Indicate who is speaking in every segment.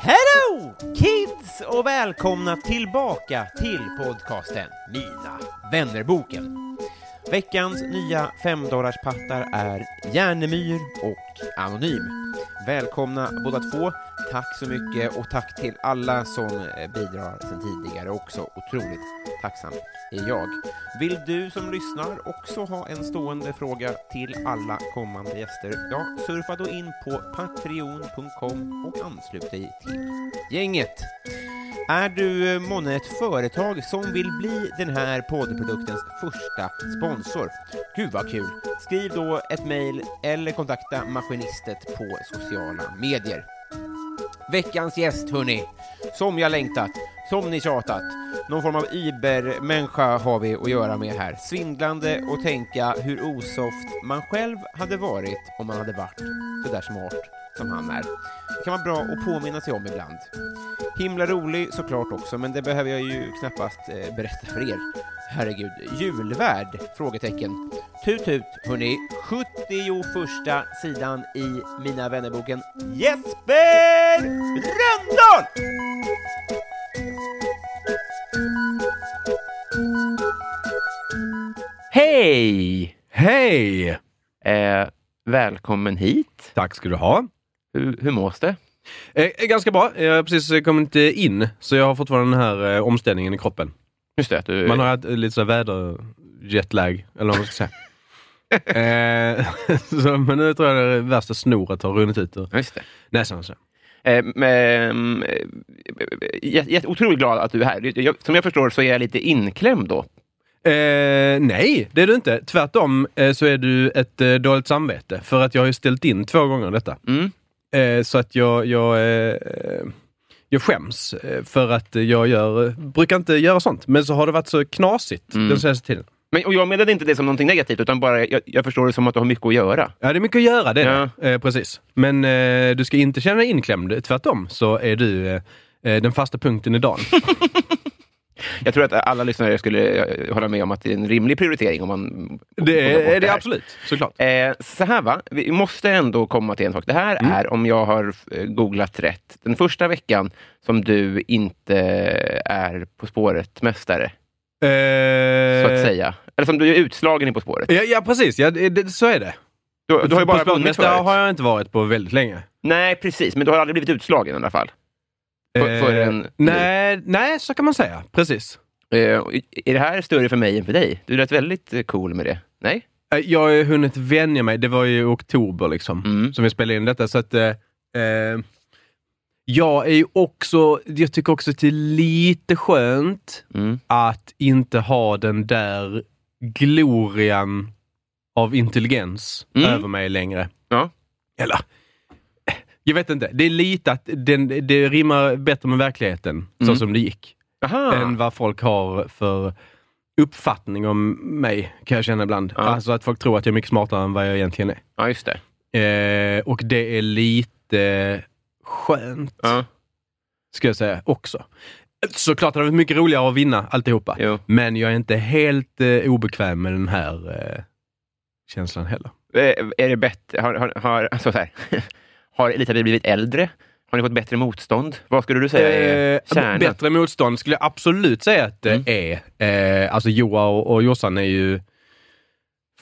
Speaker 1: Hello kids och välkomna tillbaka till podcasten Mina vännerboken. Veckans nya femdollarspattar är Järnemyr och Anonym. Välkomna båda två. Tack så mycket och tack till alla som eh, bidrar sedan tidigare också. Otroligt tacksam är jag. Vill du som lyssnar också ha en stående fråga till alla kommande gäster? Ja, surfa då in på patreon.com och anslut dig till gänget. Är du eh, månne ett företag som vill bli den här poddproduktens första sponsor? Gud vad kul! Skriv då ett mejl eller kontakta Maskinistet på sociala medier. Veckans gäst, hörni. Som jag längtat, som ni tjatat. Någon form av ibermänniska har vi att göra med här. Svindlande och tänka hur osoft man själv hade varit om man hade varit så där smart som han är. Det kan vara bra att påminna sig om ibland. Himla rolig såklart också, men det behöver jag ju knappast eh, berätta för er. Herregud, julvärd? Frågetecken. Tut tut, hörni. 71 sidan i Mina vännerboken Jesper Rönndahl!
Speaker 2: Hej!
Speaker 3: Hej!
Speaker 2: Eh, välkommen hit.
Speaker 3: Tack ska du ha.
Speaker 2: Hur, hur mås det?
Speaker 3: Eh, ganska bra. Jag har precis eh, kommit eh, in, så jag har fortfarande den här eh, omställningen i kroppen.
Speaker 2: Just det, att du...
Speaker 3: Man har haft eh, lite så här väderjetlag, eller vad man ska säga. eh, så, men nu tror jag det värsta snoret har runnit ut ur
Speaker 2: Just det.
Speaker 3: näsan. Så.
Speaker 2: Eh, men, eh, jag jag är otroligt glad att du är här. Jag, som jag förstår så är jag lite inklämd då.
Speaker 3: Eh, nej, det är du inte. Tvärtom eh, så är du ett eh, dåligt samvete. För att jag har ju ställt in två gånger detta.
Speaker 2: Mm.
Speaker 3: Eh, så att jag, jag, eh, jag skäms eh, för att jag gör, brukar inte göra sånt. Men så har det varit så knasigt
Speaker 2: Mm.
Speaker 3: den senaste tiden.
Speaker 2: Men, och jag menade inte det som någonting negativt, utan bara jag, jag förstår det som att du har mycket att göra.
Speaker 3: Ja, det är mycket att göra det. är det. Eh, precis. Men eh, du ska inte känna dig inklämd. Tvärtom så är du eh, eh, den fasta punkten i dagen.
Speaker 2: Jag tror att alla lyssnare skulle eh, hålla med om att det är en rimlig prioritering om man...
Speaker 3: det
Speaker 2: om man-
Speaker 3: är det
Speaker 2: här.
Speaker 3: absolut, såklart.
Speaker 2: Eh, så här va, vi måste ändå komma till en sak. Det här
Speaker 3: Mm.
Speaker 2: är, om jag har eh, googlat rätt, den första veckan som du inte är På spåret-mästare,
Speaker 3: Eh,
Speaker 2: så att säga. Eller som du är utslagen i På spåret.
Speaker 3: Ja, ja precis. Ja, det, det, så är det.
Speaker 2: Du, du har ju bara
Speaker 3: på
Speaker 2: vunnit
Speaker 3: spåret
Speaker 2: förut.
Speaker 3: har jag inte varit på väldigt länge.
Speaker 2: Nej, precis. Men du har aldrig blivit utslagen i alla fall. För-
Speaker 3: Eh,
Speaker 2: förrän nu.
Speaker 3: nej, nej, så kan man säga. Precis.
Speaker 2: Eh, är det här större för mig än för dig? Du lät väldigt eh, cool med det. Nej?
Speaker 3: Eh, Jag har ju hunnit vänja mig. Det var ju i oktober liksom,
Speaker 2: Mm.
Speaker 3: som vi spelade in detta. Så att, eh, eh, jag är ju också, jag tycker också att det är lite skönt
Speaker 2: Mm.
Speaker 3: att inte ha den där glorian av intelligens
Speaker 2: Mm.
Speaker 3: över mig längre.
Speaker 2: Ja.
Speaker 3: Eller, eh, jag vet inte. Det är lite att den, det rimmar bättre med verkligheten, så
Speaker 2: Mm.
Speaker 3: som det gick,
Speaker 2: Aha!
Speaker 3: än vad folk har för uppfattning om mig, kan jag känna ibland.
Speaker 2: Ja.
Speaker 3: Alltså att folk tror att jag är mycket smartare än vad jag egentligen är.
Speaker 2: Ja, just det.
Speaker 3: Eh, och det är lite skönt,
Speaker 2: Ja.
Speaker 3: ska jag säga, också. Såklart hade det varit mycket roligare att vinna alltihopa.
Speaker 2: Jo.
Speaker 3: Men jag är inte helt eh, obekväm med den här eh, känslan heller.
Speaker 2: Eh, Är det bättre? Har, har, har, alltså så här. har Elisabeth blivit äldre? Har ni fått bättre motstånd? Vad skulle du säga är
Speaker 3: Eh,
Speaker 2: kärnan? Mm.
Speaker 3: bättre motstånd skulle jag absolut säga att det är. Eh, alltså Joa och, och Jossan är ju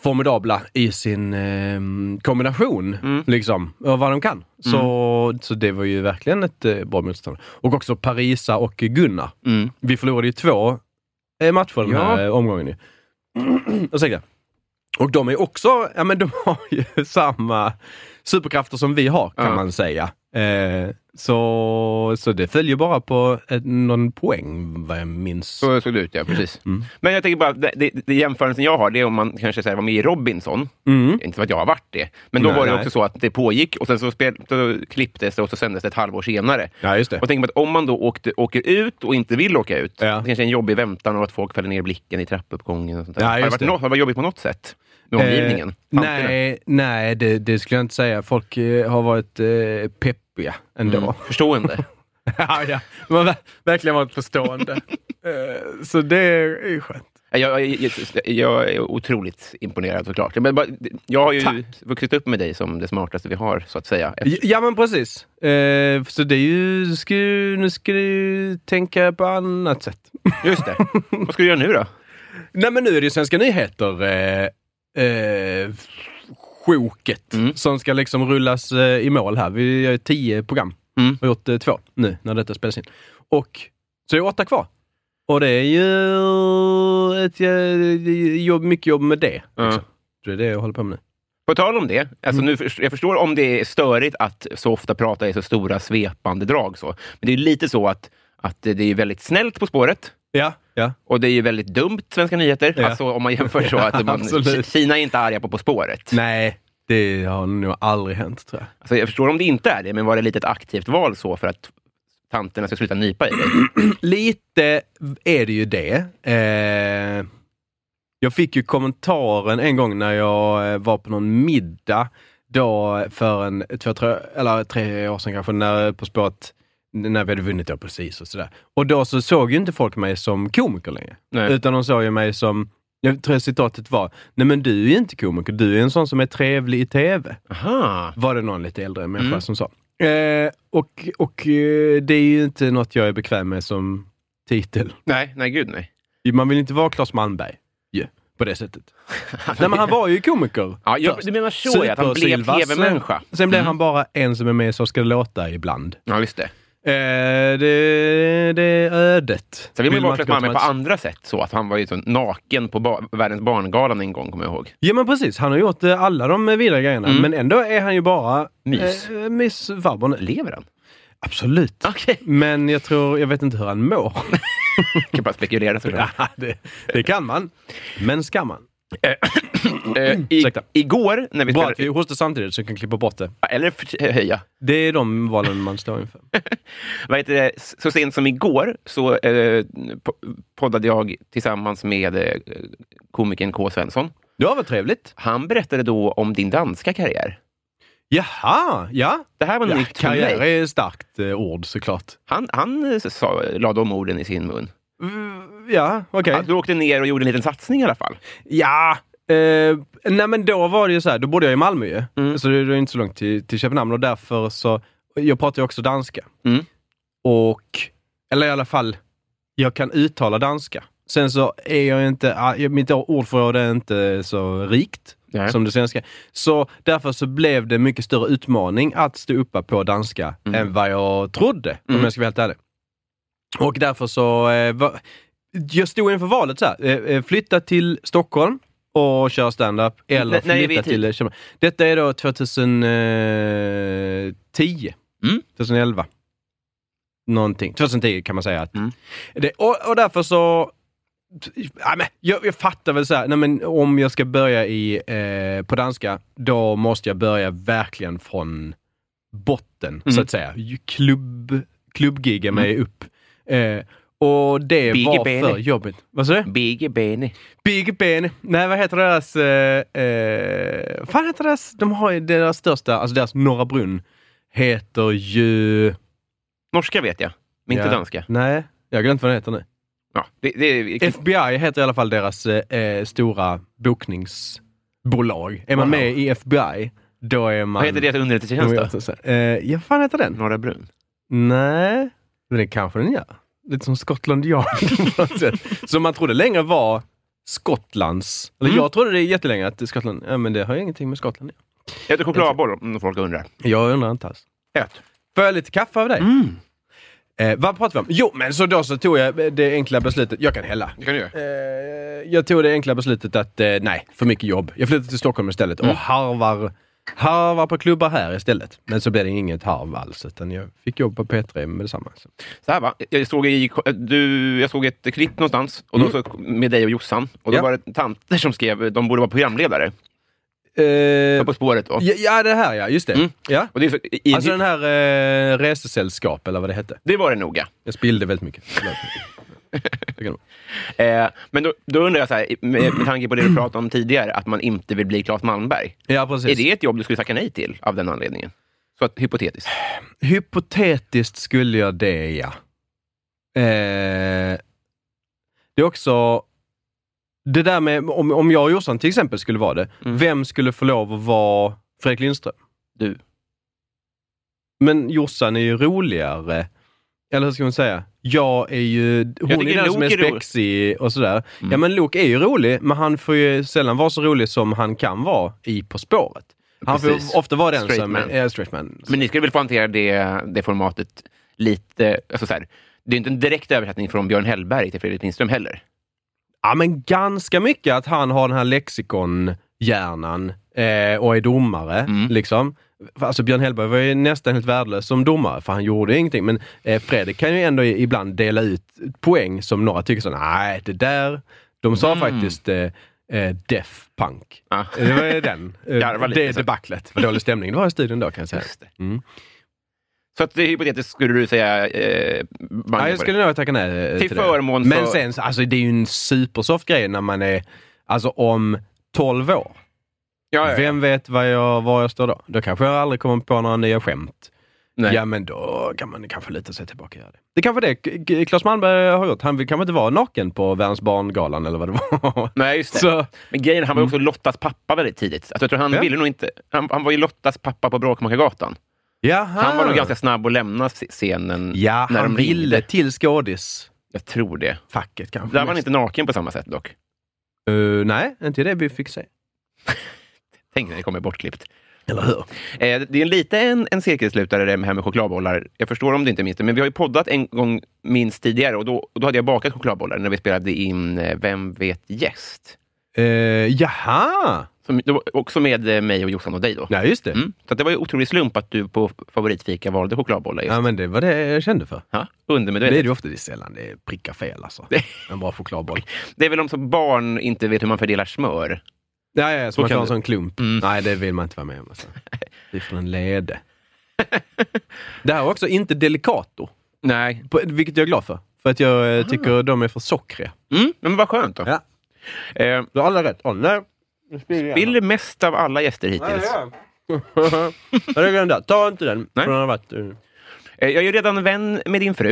Speaker 3: formidabla i sin eh, kombination,
Speaker 2: Mm.
Speaker 3: liksom, och vad de kan. Så, så det var ju verkligen ett eh, bra motstånd. Och också Parisa och Gunnar.
Speaker 2: Mm.
Speaker 3: Vi förlorade ju två eh, matcher den
Speaker 2: Ja.
Speaker 3: här eh, omgången. Ju. Ursäkta. Och de är också, ja men de har ju samma superkrafter som vi har kan
Speaker 2: Ja.
Speaker 3: man säga. Eh, så, så det följer bara på ett, någon poäng vad jag minns.
Speaker 2: Så såg det ut, ja. Precis.
Speaker 3: Mm.
Speaker 2: Men jag tänker bara, det, det, det jämförelsen jag har, det är om man kanske så här, var med i Robinson.
Speaker 3: Mm.
Speaker 2: Inte för att jag har varit det, men då
Speaker 3: Nej,
Speaker 2: var det
Speaker 3: nej.
Speaker 2: också så att det pågick och sen så, spel, så klipptes det och så sändes det ett halvår senare.
Speaker 3: Ja, just det.
Speaker 2: Och tänk på att om man då åkte, åker ut och inte vill åka ut,
Speaker 3: Ja.
Speaker 2: det kanske är en jobbig väntan och att folk fäller ner blicken i trappuppgången. Och sånt där.
Speaker 3: Ja,
Speaker 2: har, det
Speaker 3: just
Speaker 2: varit
Speaker 3: det.
Speaker 2: något, har det varit jobbigt på något sätt? Med omgivningen?
Speaker 3: Eh,
Speaker 2: Tanterna?
Speaker 3: nej, nej det, det skulle jag inte säga. Folk eh, har varit eh, peppiga ändå.
Speaker 2: Mm. Förstående.
Speaker 3: ja, ja. De har ver- verkligen varit förstående. eh, så det är skönt.
Speaker 2: Jag, jag, jag, jag är otroligt imponerad såklart. Men bara, jag har ju vuxit upp med dig som det smartaste vi har, så att säga.
Speaker 3: J- Ja, men precis. Eh, så det är ju... Ska, du- nu ska du ju tänka på annat sätt.
Speaker 2: Just det. Vad ska du göra nu då?
Speaker 3: Nej, men nu är det ju Svenska nyheter. Eh, eh, sjoket
Speaker 2: Mm.
Speaker 3: som ska liksom rullas eh, i mål här. Vi har ju tio program.
Speaker 2: Mm.
Speaker 3: Har gjort eh, två nu när detta spelas in. Och så är det åtta kvar. Och det är ju ett eh, jobb, mycket jobb med det. Liksom. Det är det jag håller på med nu.
Speaker 2: På tal om det, alltså
Speaker 3: Mm.
Speaker 2: nu, först- jag förstår om det är störigt att så ofta prata i så stora svepande drag. Så. Men det är ju lite så att, att det är väldigt snällt På spåret
Speaker 3: Ja, ja.
Speaker 2: och det är ju väldigt dumt, Svenska nyheter.
Speaker 3: Ja.
Speaker 2: Alltså, om man jämför så. Att man,
Speaker 3: absolut.
Speaker 2: Kina är inte arga på På spåret.
Speaker 3: Nej, det har nog aldrig hänt tror jag.
Speaker 2: Alltså, jag förstår om det inte är det, men var det lite ett aktivt val så för att tanterna ska sluta nypa i dig?
Speaker 3: Lite är det ju det. Eh, jag fick ju kommentaren en gång när jag eh, var på någon middag då för en, två, tre, eller tre år sedan kanske, när På spåret, när vi hade vunnit då precis och sådär. Och då så såg ju inte folk mig som komiker längre.
Speaker 2: Nej.
Speaker 3: Utan de såg ju mig som, jag tror citatet var, nej men du är ju inte komiker, du är en sån som är trevlig i TV
Speaker 2: Aha.
Speaker 3: var det någon lite äldre människa
Speaker 2: Mm.
Speaker 3: som sa. Eh, och och eh, det är ju inte något jag är bekväm med som titel.
Speaker 2: Nej, nej gud nej.
Speaker 3: Man vill inte vara Claes Malmberg ju, på det sättet. Nej, men han var ju komiker.
Speaker 2: Ja, jag,
Speaker 3: först.
Speaker 2: du menar så, ja, att han blev
Speaker 3: Supersilva.
Speaker 2: tv-människa. Mm.
Speaker 3: Sen, sen blev han bara en som är med i Så ska det låta ibland.
Speaker 2: Ja, just det.
Speaker 3: Eh, det, det är ödet.
Speaker 2: Sen vill man ju
Speaker 3: man
Speaker 2: vara
Speaker 3: inte
Speaker 2: Claes
Speaker 3: gå till
Speaker 2: Malmberg på
Speaker 3: match.
Speaker 2: andra sätt. Så att han var ju så naken på ba- Världens barngalan en gång, kommer jag ihåg.
Speaker 3: Ja men precis, han har gjort eh, alla de eh, vidare grejerna. Men ändå är han ju bara
Speaker 2: Mm. Mys.
Speaker 3: Eh, mys farbror nu.
Speaker 2: Lever han?
Speaker 3: Absolut.
Speaker 2: Okej.
Speaker 3: Men jag tror, jag vet inte hur han mår.
Speaker 2: Kan bara spekulera såklart.
Speaker 3: Ja, det, det kan man. Men ska man?
Speaker 2: Eh, i,
Speaker 3: Ursäkta.
Speaker 2: igår, när vi
Speaker 3: Bra att
Speaker 2: spelade...
Speaker 3: vi hostar samtidigt så vi kan klippa bort det.
Speaker 2: Eller för- höja.
Speaker 3: Det är de valen man står inför.
Speaker 2: Vad heter det? Så sent som igår så eh, po- poddade jag tillsammans med eh, komikern K. Svensson.
Speaker 3: Ja, vad trevligt.
Speaker 2: Han berättade då om din danska karriär.
Speaker 3: Jaha, ja.
Speaker 2: Det här var
Speaker 3: ja
Speaker 2: nytt för
Speaker 3: karriär
Speaker 2: mig.
Speaker 3: är ett starkt eh, ord såklart.
Speaker 2: Han, han eh, sa, la de orden i sin mun.
Speaker 3: Mm, Ja, okej.
Speaker 2: Att Du åkte ner och gjorde en liten satsning i alla fall.
Speaker 3: Ja. Eh, nej men då var det ju så här, då bodde jag i Malmö ju.
Speaker 2: Mm.
Speaker 3: Så det det är inte så långt till, till Köpenhamn och därför så, jag pratar ju också danska.
Speaker 2: Mm.
Speaker 3: Och, eller i alla fall, jag kan uttala danska. Sen så är jag ju inte, ah, jag- mitt ordförråd är inte så rikt
Speaker 2: Nej.
Speaker 3: som det svenska. Så därför så blev det mycket större utmaning att stå uppe på danska
Speaker 2: Mm.
Speaker 3: än vad jag trodde, om jag ska vara helt ärlig. Och därför så, eh, var, jag stod inför valet så här, eh, eh, flytta till Stockholm och köra stand-up eller
Speaker 2: N- när är vi i
Speaker 3: flytta
Speaker 2: tid?
Speaker 3: till eh, Köpenhamn. Detta är då eh, 2010,
Speaker 2: Mm.
Speaker 3: 2011. Någonting. 2010 kan man säga. Att
Speaker 2: Mm.
Speaker 3: det, och, och därför så Ja, men, jag, jag fattar väl så här, nej, men om jag ska börja i, eh, på danska, då måste jag börja verkligen från botten,
Speaker 2: Mm.
Speaker 3: så att säga. Ju- Klubb, klubbgigga mig upp. Eh, och det
Speaker 2: Biggie
Speaker 3: var
Speaker 2: Benny.
Speaker 3: för jobbigt. Vad sa du?
Speaker 2: Biggie Benny.
Speaker 3: Big Ben. Nej, vad heter deras... Eh, eh, fan heter deras... De har ju deras största, alltså deras Norra Brunn, heter ju...
Speaker 2: Norska vet jag, men inte
Speaker 3: Ja.
Speaker 2: danska.
Speaker 3: Nej, jag har glömt vad den heter nu.
Speaker 2: Ja, det, det,
Speaker 3: FBI heter i alla fall deras eh, eh, stora bokningsbolag. Är man
Speaker 2: Wow.
Speaker 3: med i FBI, då är man...
Speaker 2: vad heter deras underrättelsetjänst då?
Speaker 3: Eh, ja, fan heter den?
Speaker 2: Norra Brunn.
Speaker 3: Nej, men det kanske den gör. Lite som Scotland Yard på något sätt. Som man trodde länge var Skottlands...
Speaker 2: Mm.
Speaker 3: Eller jag trodde det är jättelänge att Skottland... Ja, men det har ju ingenting med Skottland att
Speaker 2: Jag äter chokladboll om folk undrar.
Speaker 3: göra. Jag undrar inte alls.
Speaker 2: Ät.
Speaker 3: Får jag lite kaffe av dig?
Speaker 2: Mm.
Speaker 3: Eh, vad pratar vi om? Jo, men så då så tog jag eh, det enkla beslutet. Jag kan hälla.
Speaker 2: Det kan du göra.
Speaker 3: Eh, jag tog det enkla beslutet att eh, nej, för mycket jobb. Jag flyttade till Stockholm istället
Speaker 2: Mm.
Speaker 3: och harvar, harvar på klubbar här istället. Men så blev det inget harv alls, utan jag fick jobb på P3 med detsamma. Så.
Speaker 2: Så här va, jag såg, i, du, jag såg ett klipp någonstans och då så, med dig och Jossan. Och då
Speaker 3: Ja.
Speaker 2: var det tanter som skrev de borde vara programledare.
Speaker 3: Eh,
Speaker 2: Var På spåret då.
Speaker 3: ja, ja, det här ja, just det.
Speaker 2: Mm.
Speaker 3: Ja.
Speaker 2: Och det, är så, i,
Speaker 3: Alltså den här eh, resesällskap, eller vad det hette.
Speaker 2: det var det noga.
Speaker 3: Jag spillde väldigt mycket. Förlåt. Det kan vara.
Speaker 2: Eh, men då, då undrar jag, så här, med, med tanke på det du pratade om tidigare, att man inte vill bli Claes Malmberg.
Speaker 3: ja,
Speaker 2: Är
Speaker 3: precis.
Speaker 2: det ett jobb du skulle tacka nej till av den anledningen? Så att, hypotetiskt.
Speaker 3: Hypotetiskt skulle jag det, ja. Eh, det är också... Det där med, om, om jag och Jossan till exempel skulle vara det,
Speaker 2: Mm.
Speaker 3: vem skulle få lov att vara Fredrik Lindström?
Speaker 2: Du.
Speaker 3: Men Jossan är ju roligare. Eller hur ska man säga? Jag är ju... Hon är
Speaker 2: tycker
Speaker 3: den
Speaker 2: Luke
Speaker 3: som är
Speaker 2: är rolig. Mm.
Speaker 3: spexig och sådär. Ja, men Luke är ju rolig, men han får ju sällan vara så rolig som han kan vara i På spåret. Han
Speaker 2: Precis.
Speaker 3: får ofta vara den
Speaker 2: Straight
Speaker 3: som...
Speaker 2: man.
Speaker 3: Ja, straight man.
Speaker 2: Men ni skulle väl få hantera det, det formatet lite... Alltså så här, det är inte en direkt översättning från Björn Hellberg till Fredrik Lindström heller.
Speaker 3: Ja, men ganska mycket att han har den här lexikonhjärnan eh, och är domare.
Speaker 2: Mm.
Speaker 3: Liksom. Alltså Björn Hellberg var ju nästan helt värdelös som domare, för han gjorde ju ingenting. Men eh, Fredrik kan ju ändå i- ibland dela ut poäng som några tycker så nej, det där... De sa faktiskt eh, eh, deaf punk.
Speaker 2: Mm. Ah.
Speaker 3: Det var ju den. Eh,
Speaker 2: Garva lite,
Speaker 3: det
Speaker 2: så.
Speaker 3: debaclet. Vad dålig stämning det var i studion då, kan jag säga.
Speaker 2: Just det.
Speaker 3: Mm.
Speaker 2: Så att, det är hypotetiskt skulle du säga... Eh, banjo
Speaker 3: Ja, jag
Speaker 2: på
Speaker 3: skulle nog tacka nej eh,
Speaker 2: Till
Speaker 3: det.
Speaker 2: förmån
Speaker 3: Men
Speaker 2: för-
Speaker 3: sen, så- alltså det är ju en supersoft grej när man är, alltså om 12 år.
Speaker 2: det. Ja, ja, ja.
Speaker 3: Vem vet var jag, var jag står då? Då kanske jag aldrig kommer på några nya skämt.
Speaker 2: Nej.
Speaker 3: Ja, men då kan man kanske lite sig tillbaka och göra det. Det är kanske det K- K- Claes Malmberg har gjort. Han vill kanske inte vara naken på Världens barngalan eller vad det var.
Speaker 2: Nej, just det.
Speaker 3: Så, Mm.
Speaker 2: Men grejen, är, han var ju också Lottas pappa väldigt tidigt. Alltså, jag tror han
Speaker 3: Ja.
Speaker 2: ville nog inte... Han, han var ju Lottas pappa på Bråkmakargatan.
Speaker 3: jaha.
Speaker 2: Han var nog ganska snabb att lämna sc- scenen
Speaker 3: Ah. Ja,
Speaker 2: när
Speaker 3: han
Speaker 2: de ringde.
Speaker 3: ville till skådisfacket
Speaker 2: Jag tror det.
Speaker 3: kanske.
Speaker 2: Där var han
Speaker 3: mest.
Speaker 2: inte naken på samma sätt dock.
Speaker 3: Eh, nej, inte det vi fick se.
Speaker 2: Tänk när det kommer bortklippt.
Speaker 3: Eller hur?
Speaker 2: Eh, det är lite en, en cirkelslutare det här med chokladbollar. Jag förstår om du inte minns det, men vi har ju poddat en gång minst tidigare och då, och då hade jag bakat chokladbollar när vi spelade in eh, Vem vet gäst?
Speaker 3: Eh, jaha!
Speaker 2: Som, det var också med eh, mig och Jossan och dig då.
Speaker 3: Ja, just det.
Speaker 2: Mm. Så att det var ju otrolig slump att du på favoritfika valde chokladbollar. Just.
Speaker 3: Ja, men det var det jag kände för.
Speaker 2: Ja,
Speaker 3: Det är
Speaker 2: undermedvetet.
Speaker 3: ju ofta det är sällan det prickar fel alltså. En bra chokladboll.
Speaker 2: Det är väl om som barn inte vet hur man fördelar smör.
Speaker 3: Ja, ja, ja, så
Speaker 2: Så
Speaker 3: man
Speaker 2: kan
Speaker 3: får en
Speaker 2: det-
Speaker 3: sån klump.
Speaker 2: Mm.
Speaker 3: Nej, det vill man inte vara med om. Alltså. Vi får en lede. Det här är också inte delicato,
Speaker 2: Nej. Ah.
Speaker 3: på- vilket jag är glad för. För att jag eh, tycker de är för sockriga.
Speaker 2: Mm, men vad skönt då.
Speaker 3: Ja.
Speaker 2: Eh,
Speaker 3: Du har alla rätt. Åh nej.
Speaker 2: Spiller mest av alla gäster hittills.
Speaker 3: Ja, det är den där. Ta inte den.
Speaker 2: Nej.
Speaker 3: för Den har varit, eh,
Speaker 2: Eh, Jag är ju redan vän med din fru.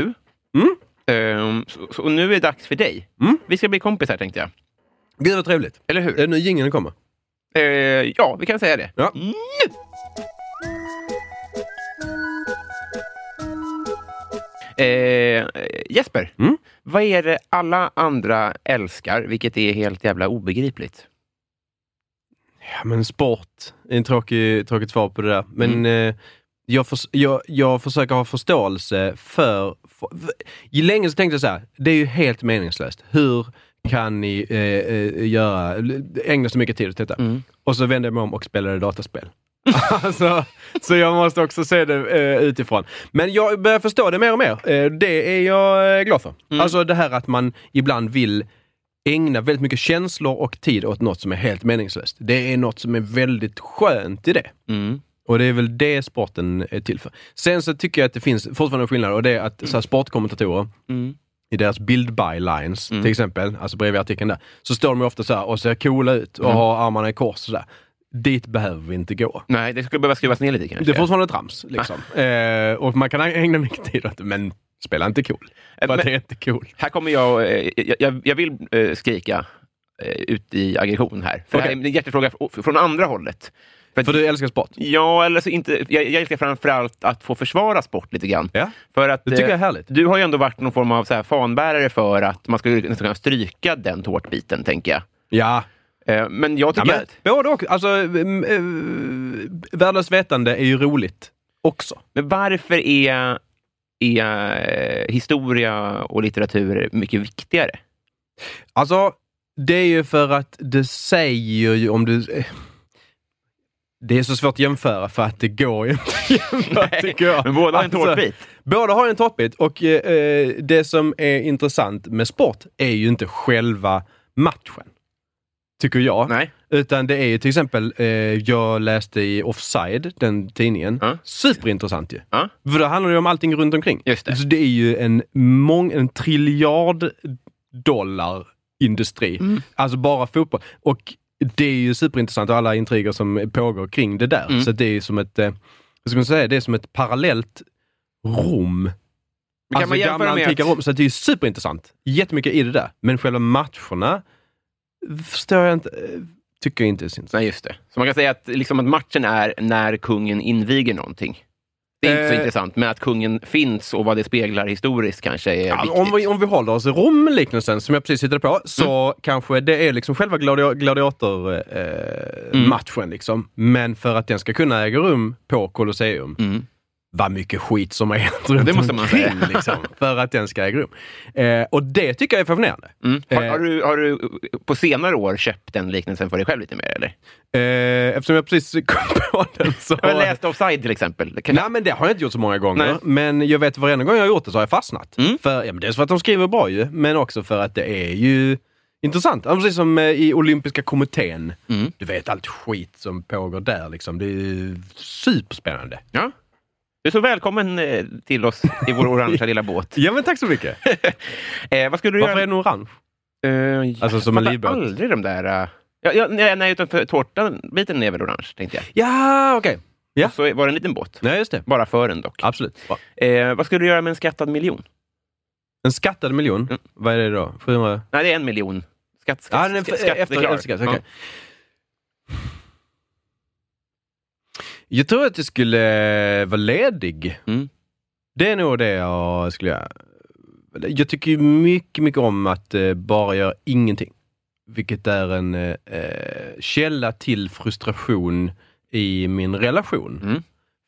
Speaker 3: Mm.
Speaker 2: Ehm, så, så, och nu är det dags för dig.
Speaker 3: Mm.
Speaker 2: Vi ska bli kompisar tänkte jag.
Speaker 3: Gud vad trevligt.
Speaker 2: Eller hur?
Speaker 3: Är det nu jingeln kommer?
Speaker 2: Eh, ja, vi kan säga det.
Speaker 3: Ja.
Speaker 2: Mm. Eh, Jesper,
Speaker 3: Mm.
Speaker 2: vad är det alla andra älskar, vilket är helt jävla obegripligt?
Speaker 3: Ja, men sport är en tråkig, tråkigt svar på det där. Men eh, jag, förs- jag, jag försöker ha förståelse för, för... I Länge så tänkte jag så här, det är ju helt meningslöst. Hur kan ni eh, eh, göra, ägna så mycket tid åt detta?
Speaker 2: Mm.
Speaker 3: Och så vände jag mig om och spelade dataspel. alltså, så jag måste också se det eh, utifrån. Men jag börjar förstå det mer och mer. Eh, det är jag eh, glad för.
Speaker 2: Mm.
Speaker 3: Alltså det här att man ibland vill ägna väldigt mycket känslor och tid åt något som är helt meningslöst. Det är något som är väldigt skönt i det.
Speaker 2: Mm.
Speaker 3: Och det är väl det sporten är till för. Sen så tycker jag att det finns fortfarande en skillnad och det är att så här, sportkommentatorer
Speaker 2: Mm.
Speaker 3: i deras bild-by-lines till exempel, alltså bredvid artikeln där, så står de ju ofta så här och ser coola ut och har armarna i kors sådär. Dit behöver vi inte gå.
Speaker 2: Nej, det skulle behöva skruvas ner lite kanske.
Speaker 3: Det är fortfarande trams
Speaker 2: Ah.
Speaker 3: liksom. eh, och man kan ägna mycket tid åt det, men spela inte cool. För att
Speaker 2: Eh, Men-
Speaker 3: det är inte cool.
Speaker 2: Här kommer jag, eh, jag, jag, jag vill eh, skrika eh, ut i aggression här. För det här
Speaker 3: Okej.
Speaker 2: är en hjärtefråga fr- från andra hållet. För att-
Speaker 3: För du älskar sport?
Speaker 2: Ja, eller så inte, jag, jag älskar framförallt att få försvara sport lite grann.
Speaker 3: Ja.
Speaker 2: För att,
Speaker 3: Det tycker
Speaker 2: eh,
Speaker 3: jag är härligt.
Speaker 2: Du har ju ändå varit någon form av så här fanbärare för att man skulle nästan kunna stryka den tårtbiten, tänker jag.
Speaker 3: Ja.
Speaker 2: Eh, Men jag
Speaker 3: ja
Speaker 2: tycker
Speaker 3: men,
Speaker 2: att...
Speaker 3: både och. Alltså, mm, eh, värdelöst vetande är ju roligt också.
Speaker 2: Men varför är, är eh, historia och litteratur mycket viktigare?
Speaker 3: Alltså, det är ju för att det säger ju om du... Det är så svårt att jämföra för att det går ju inte att jämföra, tycker jag.
Speaker 2: Men båda har en
Speaker 3: Alltså,
Speaker 2: tårtbit.
Speaker 3: Båda har en tårtbit och eh, eh, det som är intressant med sport är ju inte själva matchen. Tycker jag.
Speaker 2: Nej.
Speaker 3: Utan det är ju till exempel, eh, jag läste i Offside, den tidningen.
Speaker 2: Ja.
Speaker 3: Superintressant ju.
Speaker 2: Ja.
Speaker 3: För då handlar det ju om allting runt omkring.
Speaker 2: Just det.
Speaker 3: Så det är ju en, mång, en triljard dollar industri.
Speaker 2: Mm.
Speaker 3: Alltså bara fotboll. Och det är ju superintressant och alla intriger som pågår kring det där.
Speaker 2: Mm.
Speaker 3: Så det är ju som ett, eh, vad ska man säga, det är som ett parallellt Rom.
Speaker 2: kan
Speaker 3: alltså
Speaker 2: man jämföra
Speaker 3: gamla
Speaker 2: med
Speaker 3: antika
Speaker 2: att-
Speaker 3: Rom. Så det är ju superintressant. Jättemycket i det där. Men själva matcherna förstår jag inte, eh, tycker jag inte är så intressant.
Speaker 2: Nej, just det. Så man kan säga att, liksom, att matchen är när kungen inviger någonting. Det är inte så
Speaker 3: Eh.
Speaker 2: intressant, men att kungen finns och vad det speglar historiskt kanske är
Speaker 3: Ja,
Speaker 2: viktigt.
Speaker 3: om, vi, om vi håller oss i Rom-liknelsen som jag precis hittade på, så
Speaker 2: Mm.
Speaker 3: kanske det är liksom själva gladio- gladiatormatchen. Eh,
Speaker 2: Mm.
Speaker 3: matchen liksom. Men för att den ska kunna äga rum på Colosseum,
Speaker 2: Mm.
Speaker 3: vad mycket skit som har hänt runt
Speaker 2: Det måste man
Speaker 3: omkring,
Speaker 2: säga.
Speaker 3: liksom, för att den ska äga rum. Eh, och det tycker jag är fascinerande.
Speaker 2: Mm. Har,
Speaker 3: Eh.
Speaker 2: har, du, har du på senare år köpt den liknelsen för dig själv lite mer? Eller?
Speaker 3: Eh, eftersom jag precis kom på den så...
Speaker 2: Jag har läst Offside till exempel. Det kan-
Speaker 3: Nej, men det har jag inte gjort så många gånger.
Speaker 2: Nej.
Speaker 3: Men jag vet varenda gång jag har gjort det så har jag fastnat.
Speaker 2: Mm.
Speaker 3: För, ja, men dels för att de skriver bra ju, men också för att det är ju intressant. Ja, Precis som eh, i Olympiska kommittén.
Speaker 2: Mm.
Speaker 3: Du vet allt skit som pågår där liksom. Det är ju superspännande.
Speaker 2: Ja. Du är så välkommen eh, till oss i vår orangea lilla båt.
Speaker 3: Ja, men tack så mycket.
Speaker 2: Eh, vad skulle du
Speaker 3: Varför är
Speaker 2: göra?
Speaker 3: den orange?
Speaker 2: Eh, jag
Speaker 3: Alltså, som en
Speaker 2: fattar
Speaker 3: livbåt.
Speaker 2: aldrig de där... eh, Ja, ja, nej, nej, utan för tårtan-biten är väl orange, tänkte jag.
Speaker 3: Ja, okej. Ja.
Speaker 2: Och så var det en liten båt.
Speaker 3: Nej, just det.
Speaker 2: Bara för en dock.
Speaker 3: Absolut. Bra.
Speaker 2: Eh, vad skulle du göra med en skattad miljon?
Speaker 3: En skattad miljon.
Speaker 2: Mm.
Speaker 3: Vad är det då? 700?
Speaker 2: Nej, det är en miljon. Skatt, skatt,
Speaker 3: Ja, den är
Speaker 2: skatt,
Speaker 3: f-
Speaker 2: skatt,
Speaker 3: efter,
Speaker 2: det är klar.
Speaker 3: efter skatt. okej. Jag tror att jag skulle eh, vara ledig.
Speaker 2: Ja. Mm.
Speaker 3: Det är nog det jag skulle göra. Jag tycker ju mycket, mycket om att eh, bara göra ingenting. Vilket är en eh, eh, källa till frustration i min relation.
Speaker 2: Mm.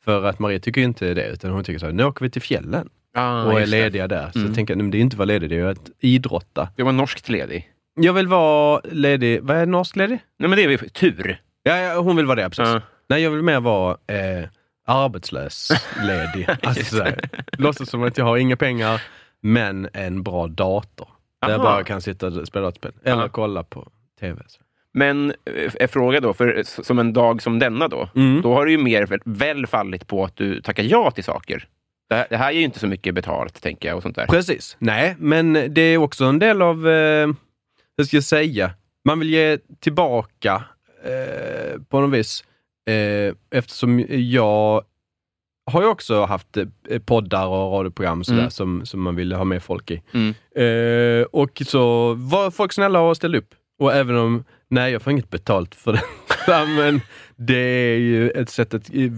Speaker 3: För att Maria tycker ju inte det, utan hon tycker så här, nu åker vi till fjällen
Speaker 2: Ah,
Speaker 3: och är
Speaker 2: just det.
Speaker 3: lediga där. Så
Speaker 2: Mm.
Speaker 3: jag tänker jag, nej, men det är ju inte att vara ledig, det är ju att idrotta.
Speaker 2: Det var norskt ledig.
Speaker 3: Jag vill vara ledig, vad är norsk ledig?
Speaker 2: Nej, men det är ju tur.
Speaker 3: Ja, ja, hon vill vara det, precis.
Speaker 2: Ja.
Speaker 3: Nej, jag vill mer vara eh, arbetslös, ledig. Alltså, sådär. låtsas som att jag har inga pengar, men en bra dator. Där jag
Speaker 2: Aha.
Speaker 3: bara kan sitta och spela dataspel. Eller
Speaker 2: Ja.
Speaker 3: kolla på TV. Så.
Speaker 2: Men eh, en fråga då, för s- som en dag som denna då,
Speaker 3: Mm.
Speaker 2: då har det ju mer väl- väl fallit på att du tackar ja till saker. Det här, det här ger ju inte så mycket betalt, tänker jag. och sånt där.
Speaker 3: Precis. Nej, men det är också en del av, eh, hur ska jag säga, man vill ge tillbaka eh, på något vis. Eh, eftersom jag har ju också haft eh, poddar och radioprogram sådär,
Speaker 2: Mm.
Speaker 3: som, som man ville ha med folk i.
Speaker 2: Mm.
Speaker 3: Eh, och så var folk snälla och ställde upp. Och även om, nej jag får inget betalt för det. Ja, men det är ju ett sätt att eh,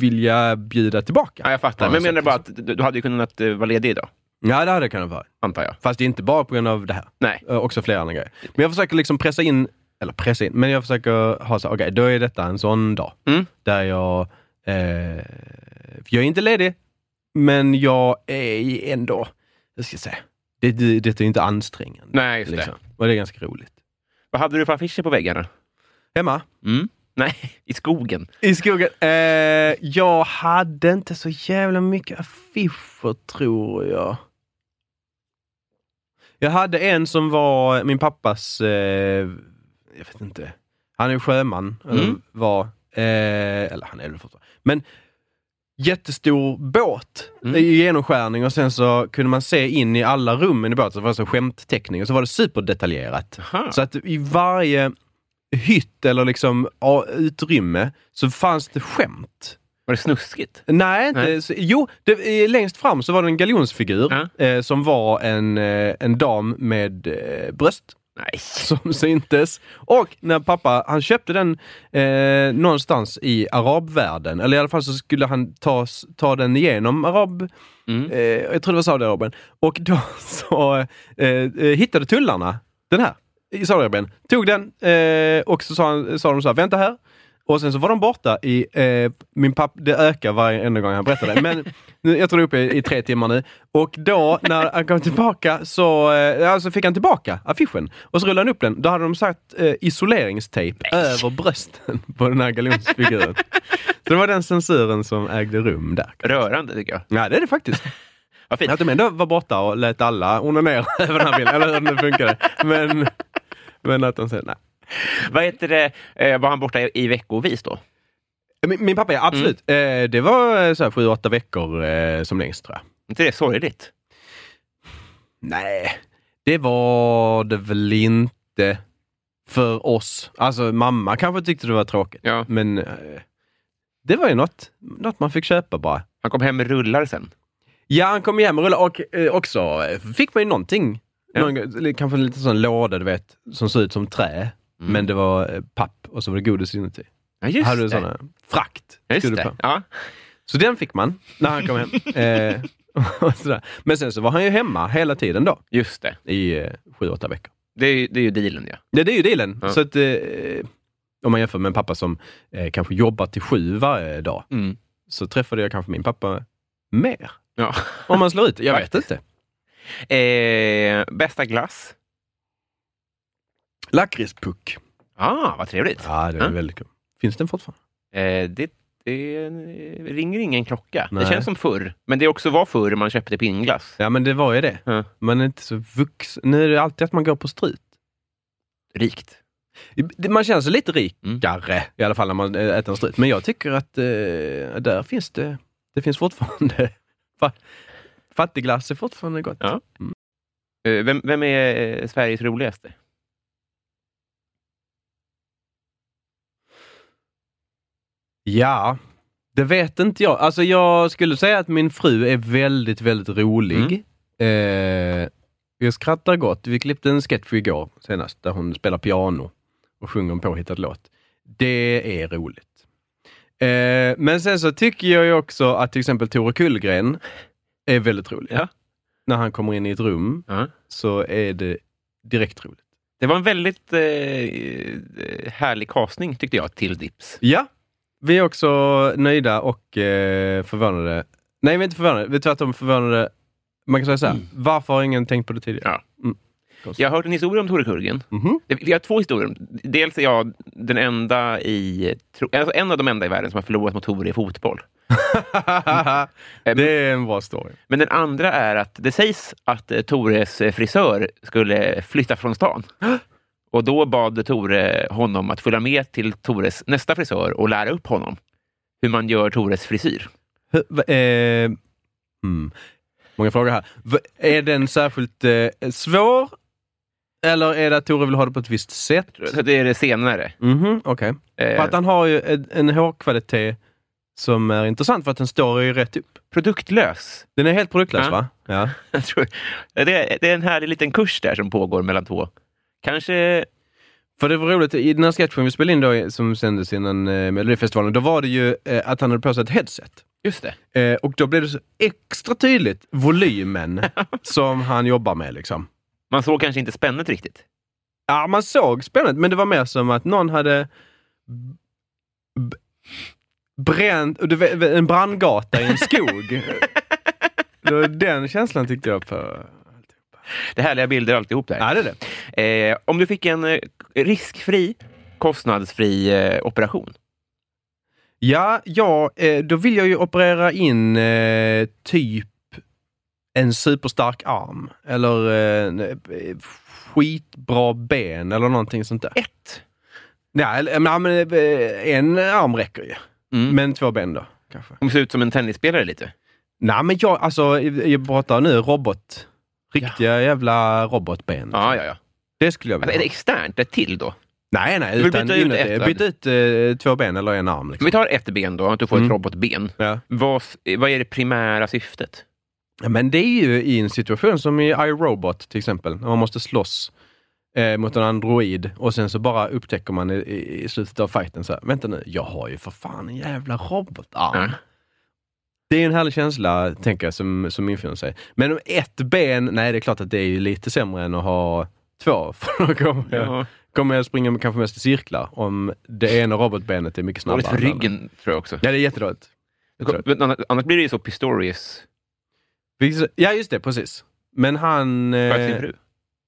Speaker 3: vilja bjuda tillbaka.
Speaker 2: Ja, jag fattar.
Speaker 3: Ja,
Speaker 2: Men jag
Speaker 3: säkert
Speaker 2: menar bara att du, du hade ju kunnat eh, vara ledig idag,
Speaker 3: Ja, det hade det kunnat vara.
Speaker 2: antar jag.
Speaker 3: Fast det är inte bara på grund av det här.
Speaker 2: Nej.
Speaker 3: Eh, också flera andra grejer. Men jag försöker liksom pressa in, eller pressa in, men jag försöker ha så här, okej, då är detta en sån dag.
Speaker 2: Mm.
Speaker 3: Där jag, eh, för jag är inte ledig, men jag är ju ändå, hur ska jag säga, det, det, det är inte ansträngande.
Speaker 2: Nej, just
Speaker 3: liksom.
Speaker 2: det.
Speaker 3: Och det är ganska roligt.
Speaker 2: Vad hade du för affischer på väggarna?
Speaker 3: Hemma,
Speaker 2: Mm. Nej, i skogen.
Speaker 3: i skogen, eh, jag hade inte så jävla mycket affischer tror jag. Jag hade en som var min pappas, eh, jag vet inte, han är sjöman, eller
Speaker 2: Mm.
Speaker 3: var, eh, eller han är det fortfarande. Men jättestor båt
Speaker 2: Mm.
Speaker 3: i genomskärning och sen så kunde man se in i alla rummen i båten, så det var så skämtteckning och så var det superdetaljerat.
Speaker 2: Aha.
Speaker 3: Så att i varje hytt eller liksom ja, utrymme så fanns det skämt.
Speaker 2: Var det snuskigt?
Speaker 3: Nej, inte,
Speaker 2: Nej.
Speaker 3: Så, jo, det, eh, längst fram så var det en galjonsfigur
Speaker 2: Ja.
Speaker 3: eh, som var en, eh, en dam med eh, bröst.
Speaker 2: Nej.
Speaker 3: som syntes. Och när pappa, han köpte den eh, någonstans i arabvärlden, eller i alla fall så skulle han ta, s- ta den igenom arab... Eh, jag tror det var Saudiarabien. Och då så eh, eh, hittade tullarna den här i Saudiarabien. Tog den eh, och så sa, han, sa de så här, vänta här. Och sen så var de borta i, eh, min pappa, det ökar varje enda gång han berättar det, men nu, jag tror det är uppe i, i tre timmar nu. Och då när han kom tillbaka så eh, alltså fick han tillbaka affischen och så rullade han upp den. Då hade de satt eh, isoleringstejp över brösten på den här galonsfiguren. så det var den censuren som ägde rum där.
Speaker 2: Rörande, tycker jag.
Speaker 3: Ja, det är det faktiskt.
Speaker 2: Vad fint.
Speaker 3: Att de ändå var borta och lät alla onanera över den här bilden, eller hur det nu funkade. Men, men att de sen, nej.
Speaker 2: Vad heter det? Eh, var han borta i, i veckovis då?
Speaker 3: Min, min pappa, ja absolut.
Speaker 2: Mm.
Speaker 3: Eh, det var eh, så här sju, åtta veckor eh, som längst tror jag.
Speaker 2: inte det sorgligt?
Speaker 3: Nej, det var det väl inte för oss. Alltså mamma kanske tyckte det var tråkigt,
Speaker 2: Ja.
Speaker 3: men eh, det var ju något, något man fick köpa bara.
Speaker 2: Han kom hem med rullar sen.
Speaker 3: Ja, han kom hem och rullade och eh, också eh, fick man ju någonting.
Speaker 2: Ja.
Speaker 3: Någon, eller kanske en liten sån låda, du vet, som såg ut som trä, men det var eh, papp och så var det godis inuti.
Speaker 2: Ja, Mm. just
Speaker 3: Hade
Speaker 2: det.
Speaker 3: du såna frakt?
Speaker 2: Ja, Just
Speaker 3: stod på.
Speaker 2: det. Ja.
Speaker 3: Så den fick man när han kom hem. eh, och sådär. Men sen så var han ju hemma hela tiden då,
Speaker 2: Just det.
Speaker 3: i eh, sju, åtta veckor.
Speaker 2: Det är, ju- det är ju dealen, ja.
Speaker 3: Ja, det är ju dealen.
Speaker 2: Ja.
Speaker 3: Så att, eh, om man jämför med en pappa som eh, kanske jobbar till sju varje dag,
Speaker 2: Mm.
Speaker 3: så träffade jag kanske min pappa mer.
Speaker 2: ja.
Speaker 3: Om man slår ut det. Jag vet inte.
Speaker 2: Eh, bästa glass?
Speaker 3: Lakritspuck.
Speaker 2: Ah, vad trevligt.
Speaker 3: Ja, det är
Speaker 2: Ja.
Speaker 3: väldigt kul. Finns den fortfarande?
Speaker 2: Eh, det, det ringer ingen klocka.
Speaker 3: Nej.
Speaker 2: Det känns som förr. Men det också var förr man köpte pinnglass.
Speaker 3: Ja, men det var ju det.
Speaker 2: Ja.
Speaker 3: Man är inte så vuxen. Nu är det alltid att man går på strut.
Speaker 2: Rikt.
Speaker 3: Det- Man känner sig lite
Speaker 2: Mm.
Speaker 3: rikare i alla fall när man eh, äter en strut. Men jag tycker att eh, där finns det, det finns fortfarande... fa- Fattigglass är fortfarande gott.
Speaker 2: Ja. Eh, vem, vem är eh, Sveriges roligaste?
Speaker 3: Ja, det vet inte jag. Alltså jag skulle säga att min fru är väldigt, väldigt rolig.
Speaker 2: Mm.
Speaker 3: Eh, jag skrattar gott. Vi klippte en sketch för igår senast där hon spelar piano och sjunger en påhittad låt. Det är roligt. Eh, men sen så tycker jag ju också att till exempel Tore Kullgren är väldigt rolig.
Speaker 2: Ja.
Speaker 3: När han kommer in i ett rum
Speaker 2: Ja.
Speaker 3: så är det direkt roligt.
Speaker 2: Det var en väldigt eh, eh, härlig casting, tyckte jag, till Dips.
Speaker 3: Ja, vi är också nöjda och eh, förvånade. Nej, vi är inte förvånade. Vi är tvärtom förvånade. Man kan säga så här, varför har ingen tänkt på det tidigare?
Speaker 2: Ja.
Speaker 3: Mm.
Speaker 2: Jag har hört en historia om Tore Kullgren.
Speaker 3: Mhm.
Speaker 2: Det- Vi har två historier. Dels är jag den enda i, tro- alltså en av de enda i världen som har förlorat mot Tore i fotboll.
Speaker 3: det är en bra story.
Speaker 2: Men den andra är att det sägs att eh, Tores eh, frisör skulle flytta från stan. Och då bad Tore honom att följa med till Tores nästa frisör och lära upp honom hur man gör Tores frisyr.
Speaker 3: Hur- va- Eh, mm. Många frågor här. V- är den särskilt eh, svår? Eller är det att Tore vill ha det på ett visst sätt?
Speaker 2: Så det är det senare.
Speaker 3: Mhm, Mm-hmm, okej.
Speaker 2: Eh,
Speaker 3: För att han har ju en, en hårkvalitet som är intressant för att den står ju rätt upp.
Speaker 2: Produktlös.
Speaker 3: Den är helt produktlös
Speaker 2: Ja.
Speaker 3: va? Ja.
Speaker 2: Jag tror, det, är, det är en härlig liten kurs där som pågår mellan två. Kanske...
Speaker 3: För det var roligt, i den här sketchen vi spelade in då, som sändes innan eh, Melodifestivalen, då var det ju eh, att han hade på sig ett headset.
Speaker 2: Just det.
Speaker 3: Eh, och då blev det så extra tydligt volymen som han jobbar med. Liksom.
Speaker 2: Man såg kanske inte spännet riktigt.
Speaker 3: Ja, man såg spännande, men det var mer som att någon hade b- b- bränt och du vet, en brandgata i en skog. Det var den känslan tyckte jag på.
Speaker 2: Det är härliga bilder alltihop där.
Speaker 3: Ja, det är det.
Speaker 2: Eh, om du fick en eh, riskfri, kostnadsfri eh, operation.
Speaker 3: Ja, ja, eh, då vill jag ju operera in eh, typ en superstark arm eller eh, en, eh, skitbra ben eller någonting sånt där.
Speaker 2: Ett.
Speaker 3: Nej, eller- men, ja, men eh, en arm räcker ju.
Speaker 2: Mm.
Speaker 3: Men två ben då, kanske.
Speaker 2: Hon ser ut som en tennisspelare lite.
Speaker 3: Nej, men jag, alltså, jag pratar nu robot. Riktiga jävla robotben.
Speaker 2: Ja, ja, ja.
Speaker 3: Det skulle jag
Speaker 2: Alltså,
Speaker 3: vilja
Speaker 2: är det
Speaker 3: ha.
Speaker 2: externt? Ett till då?
Speaker 3: Nej, nej.
Speaker 2: vill
Speaker 3: Utan,
Speaker 2: byta ut
Speaker 3: inuti.
Speaker 2: ett, va?
Speaker 3: byta ut eh, två ben eller en arm.
Speaker 2: Om
Speaker 3: Liksom.
Speaker 2: vi tar ett ben då, att du får ett
Speaker 3: Mm.
Speaker 2: robotben.
Speaker 3: Ja.
Speaker 2: Vad, s- eh, vad är det primära syftet?
Speaker 3: Ja, Men det är ju i en situation som i iRobot till exempel, när man måste slåss. eh, mot en android och sen så bara upptäcker man i, i, i slutet av fighten så här, vänta nu, jag har ju för fan en jävla
Speaker 2: Ja.
Speaker 3: robotarm. Det är en härlig känsla, tänker jag, som, som infinner sig. Men om ett ben, nej det är klart att det är ju lite sämre än att ha två. För då kommer, jag,
Speaker 2: Ja.
Speaker 3: kommer jag springa kanske mest i cirklar om det ena robotbenet är mycket snabbare.
Speaker 2: Dåligt för
Speaker 3: än det andra.
Speaker 2: ryggen, tror jag också.
Speaker 3: Ja, det är jättedåligt. Det tror jag.
Speaker 2: Men annars- Annars blir det ju så Pistorius
Speaker 3: Vilket- Ja, just det, precis. Men han... eh,
Speaker 2: sköt sin fru.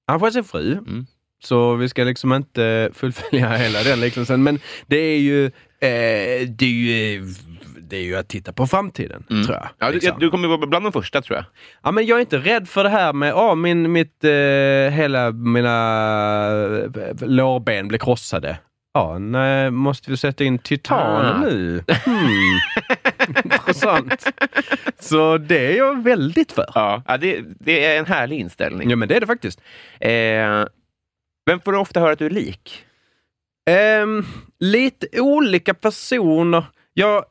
Speaker 3: Han får sin fru.
Speaker 2: Mm.
Speaker 3: Så vi ska liksom inte fullfölja hela den liknelsen. Men det är ju... Eh, det, är ju det är ju att titta på framtiden,
Speaker 2: Mm.
Speaker 3: tror jag.
Speaker 2: Ja, du,
Speaker 3: liksom.
Speaker 2: du kommer vara bland de första, tror jag.
Speaker 3: Ja, men jag är inte rädd för det här med ja, min, mitt, eh, hela mina eh, lårben blir krossade. Ja, nej, måste vi sätta in titan
Speaker 2: Ah.
Speaker 3: nu? Hmm. Intressant. Så det är jag väldigt för.
Speaker 2: Ja. Ja, det, det är en härlig inställning.
Speaker 3: Ja, men det är det faktiskt.
Speaker 2: Eh, vem får du ofta höra att du är lik?
Speaker 3: Ehm, lite olika personer. Jag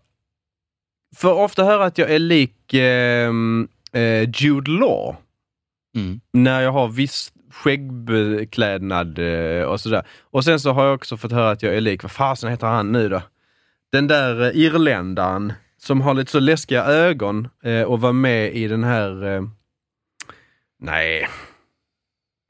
Speaker 3: får ofta höra att jag är lik ehm, eh, Jude Law. när jag har viss skäggbeklädnad eh, och sådär. Och sen så har jag också fått höra att jag är lik, vad fasen heter han nu då? Den där eh, irländaren som har lite så läskiga ögon eh, och var med i den här... eh, Nej.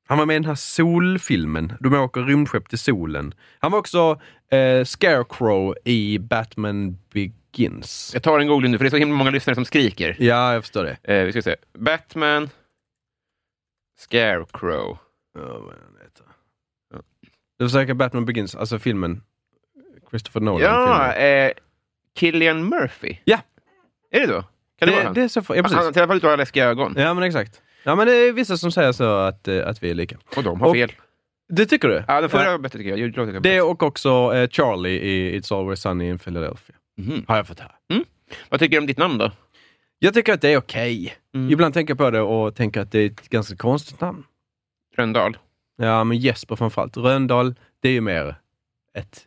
Speaker 3: Han var med i den här solfilmen. De åker rymdskepp till solen. Han var också eh, Scarecrow i Batman Begins.
Speaker 2: Jag tar en googling nu, för det är så himla många lyssnare som skriker.
Speaker 3: Ja, jag förstår det.
Speaker 2: Eh, vi ska se. Batman, Scarecrow.
Speaker 3: Ja, vad han heter. Du försöker Batman Begins, alltså filmen. Christopher Nolan.
Speaker 2: Ja,
Speaker 3: filmen.
Speaker 2: eh, Killian Murphy.
Speaker 3: Ja.
Speaker 2: Är det då? Kan det, vara
Speaker 3: Det,
Speaker 2: han?
Speaker 3: det är så, ja,
Speaker 2: han,
Speaker 3: precis.
Speaker 2: han, I alla fall har läskiga ögon.
Speaker 3: Ja, men exakt. Ja, men det är vissa som säger så att, eh, att vi är lika.
Speaker 2: Och de har
Speaker 3: Och-
Speaker 2: fel.
Speaker 3: Det tycker du? Eh,
Speaker 2: Ja, den förra var bättre, tycker jag. Jude Law tycker jag.
Speaker 3: Det
Speaker 2: var
Speaker 3: och också eh, Charlie i It's Always Sunny in Philadelphia.
Speaker 2: bäst. Mhm.
Speaker 3: Har jag fått höra.
Speaker 2: Vad tycker du om ditt namn då?
Speaker 3: Jag tycker att det är okej.
Speaker 2: Mm.
Speaker 3: Ibland tänker jag på det och tänker att det är ett ganska konstigt namn.
Speaker 2: Rönndahl?
Speaker 3: Ja, men Jesper framförallt. Rönndahl, det är ju mer ett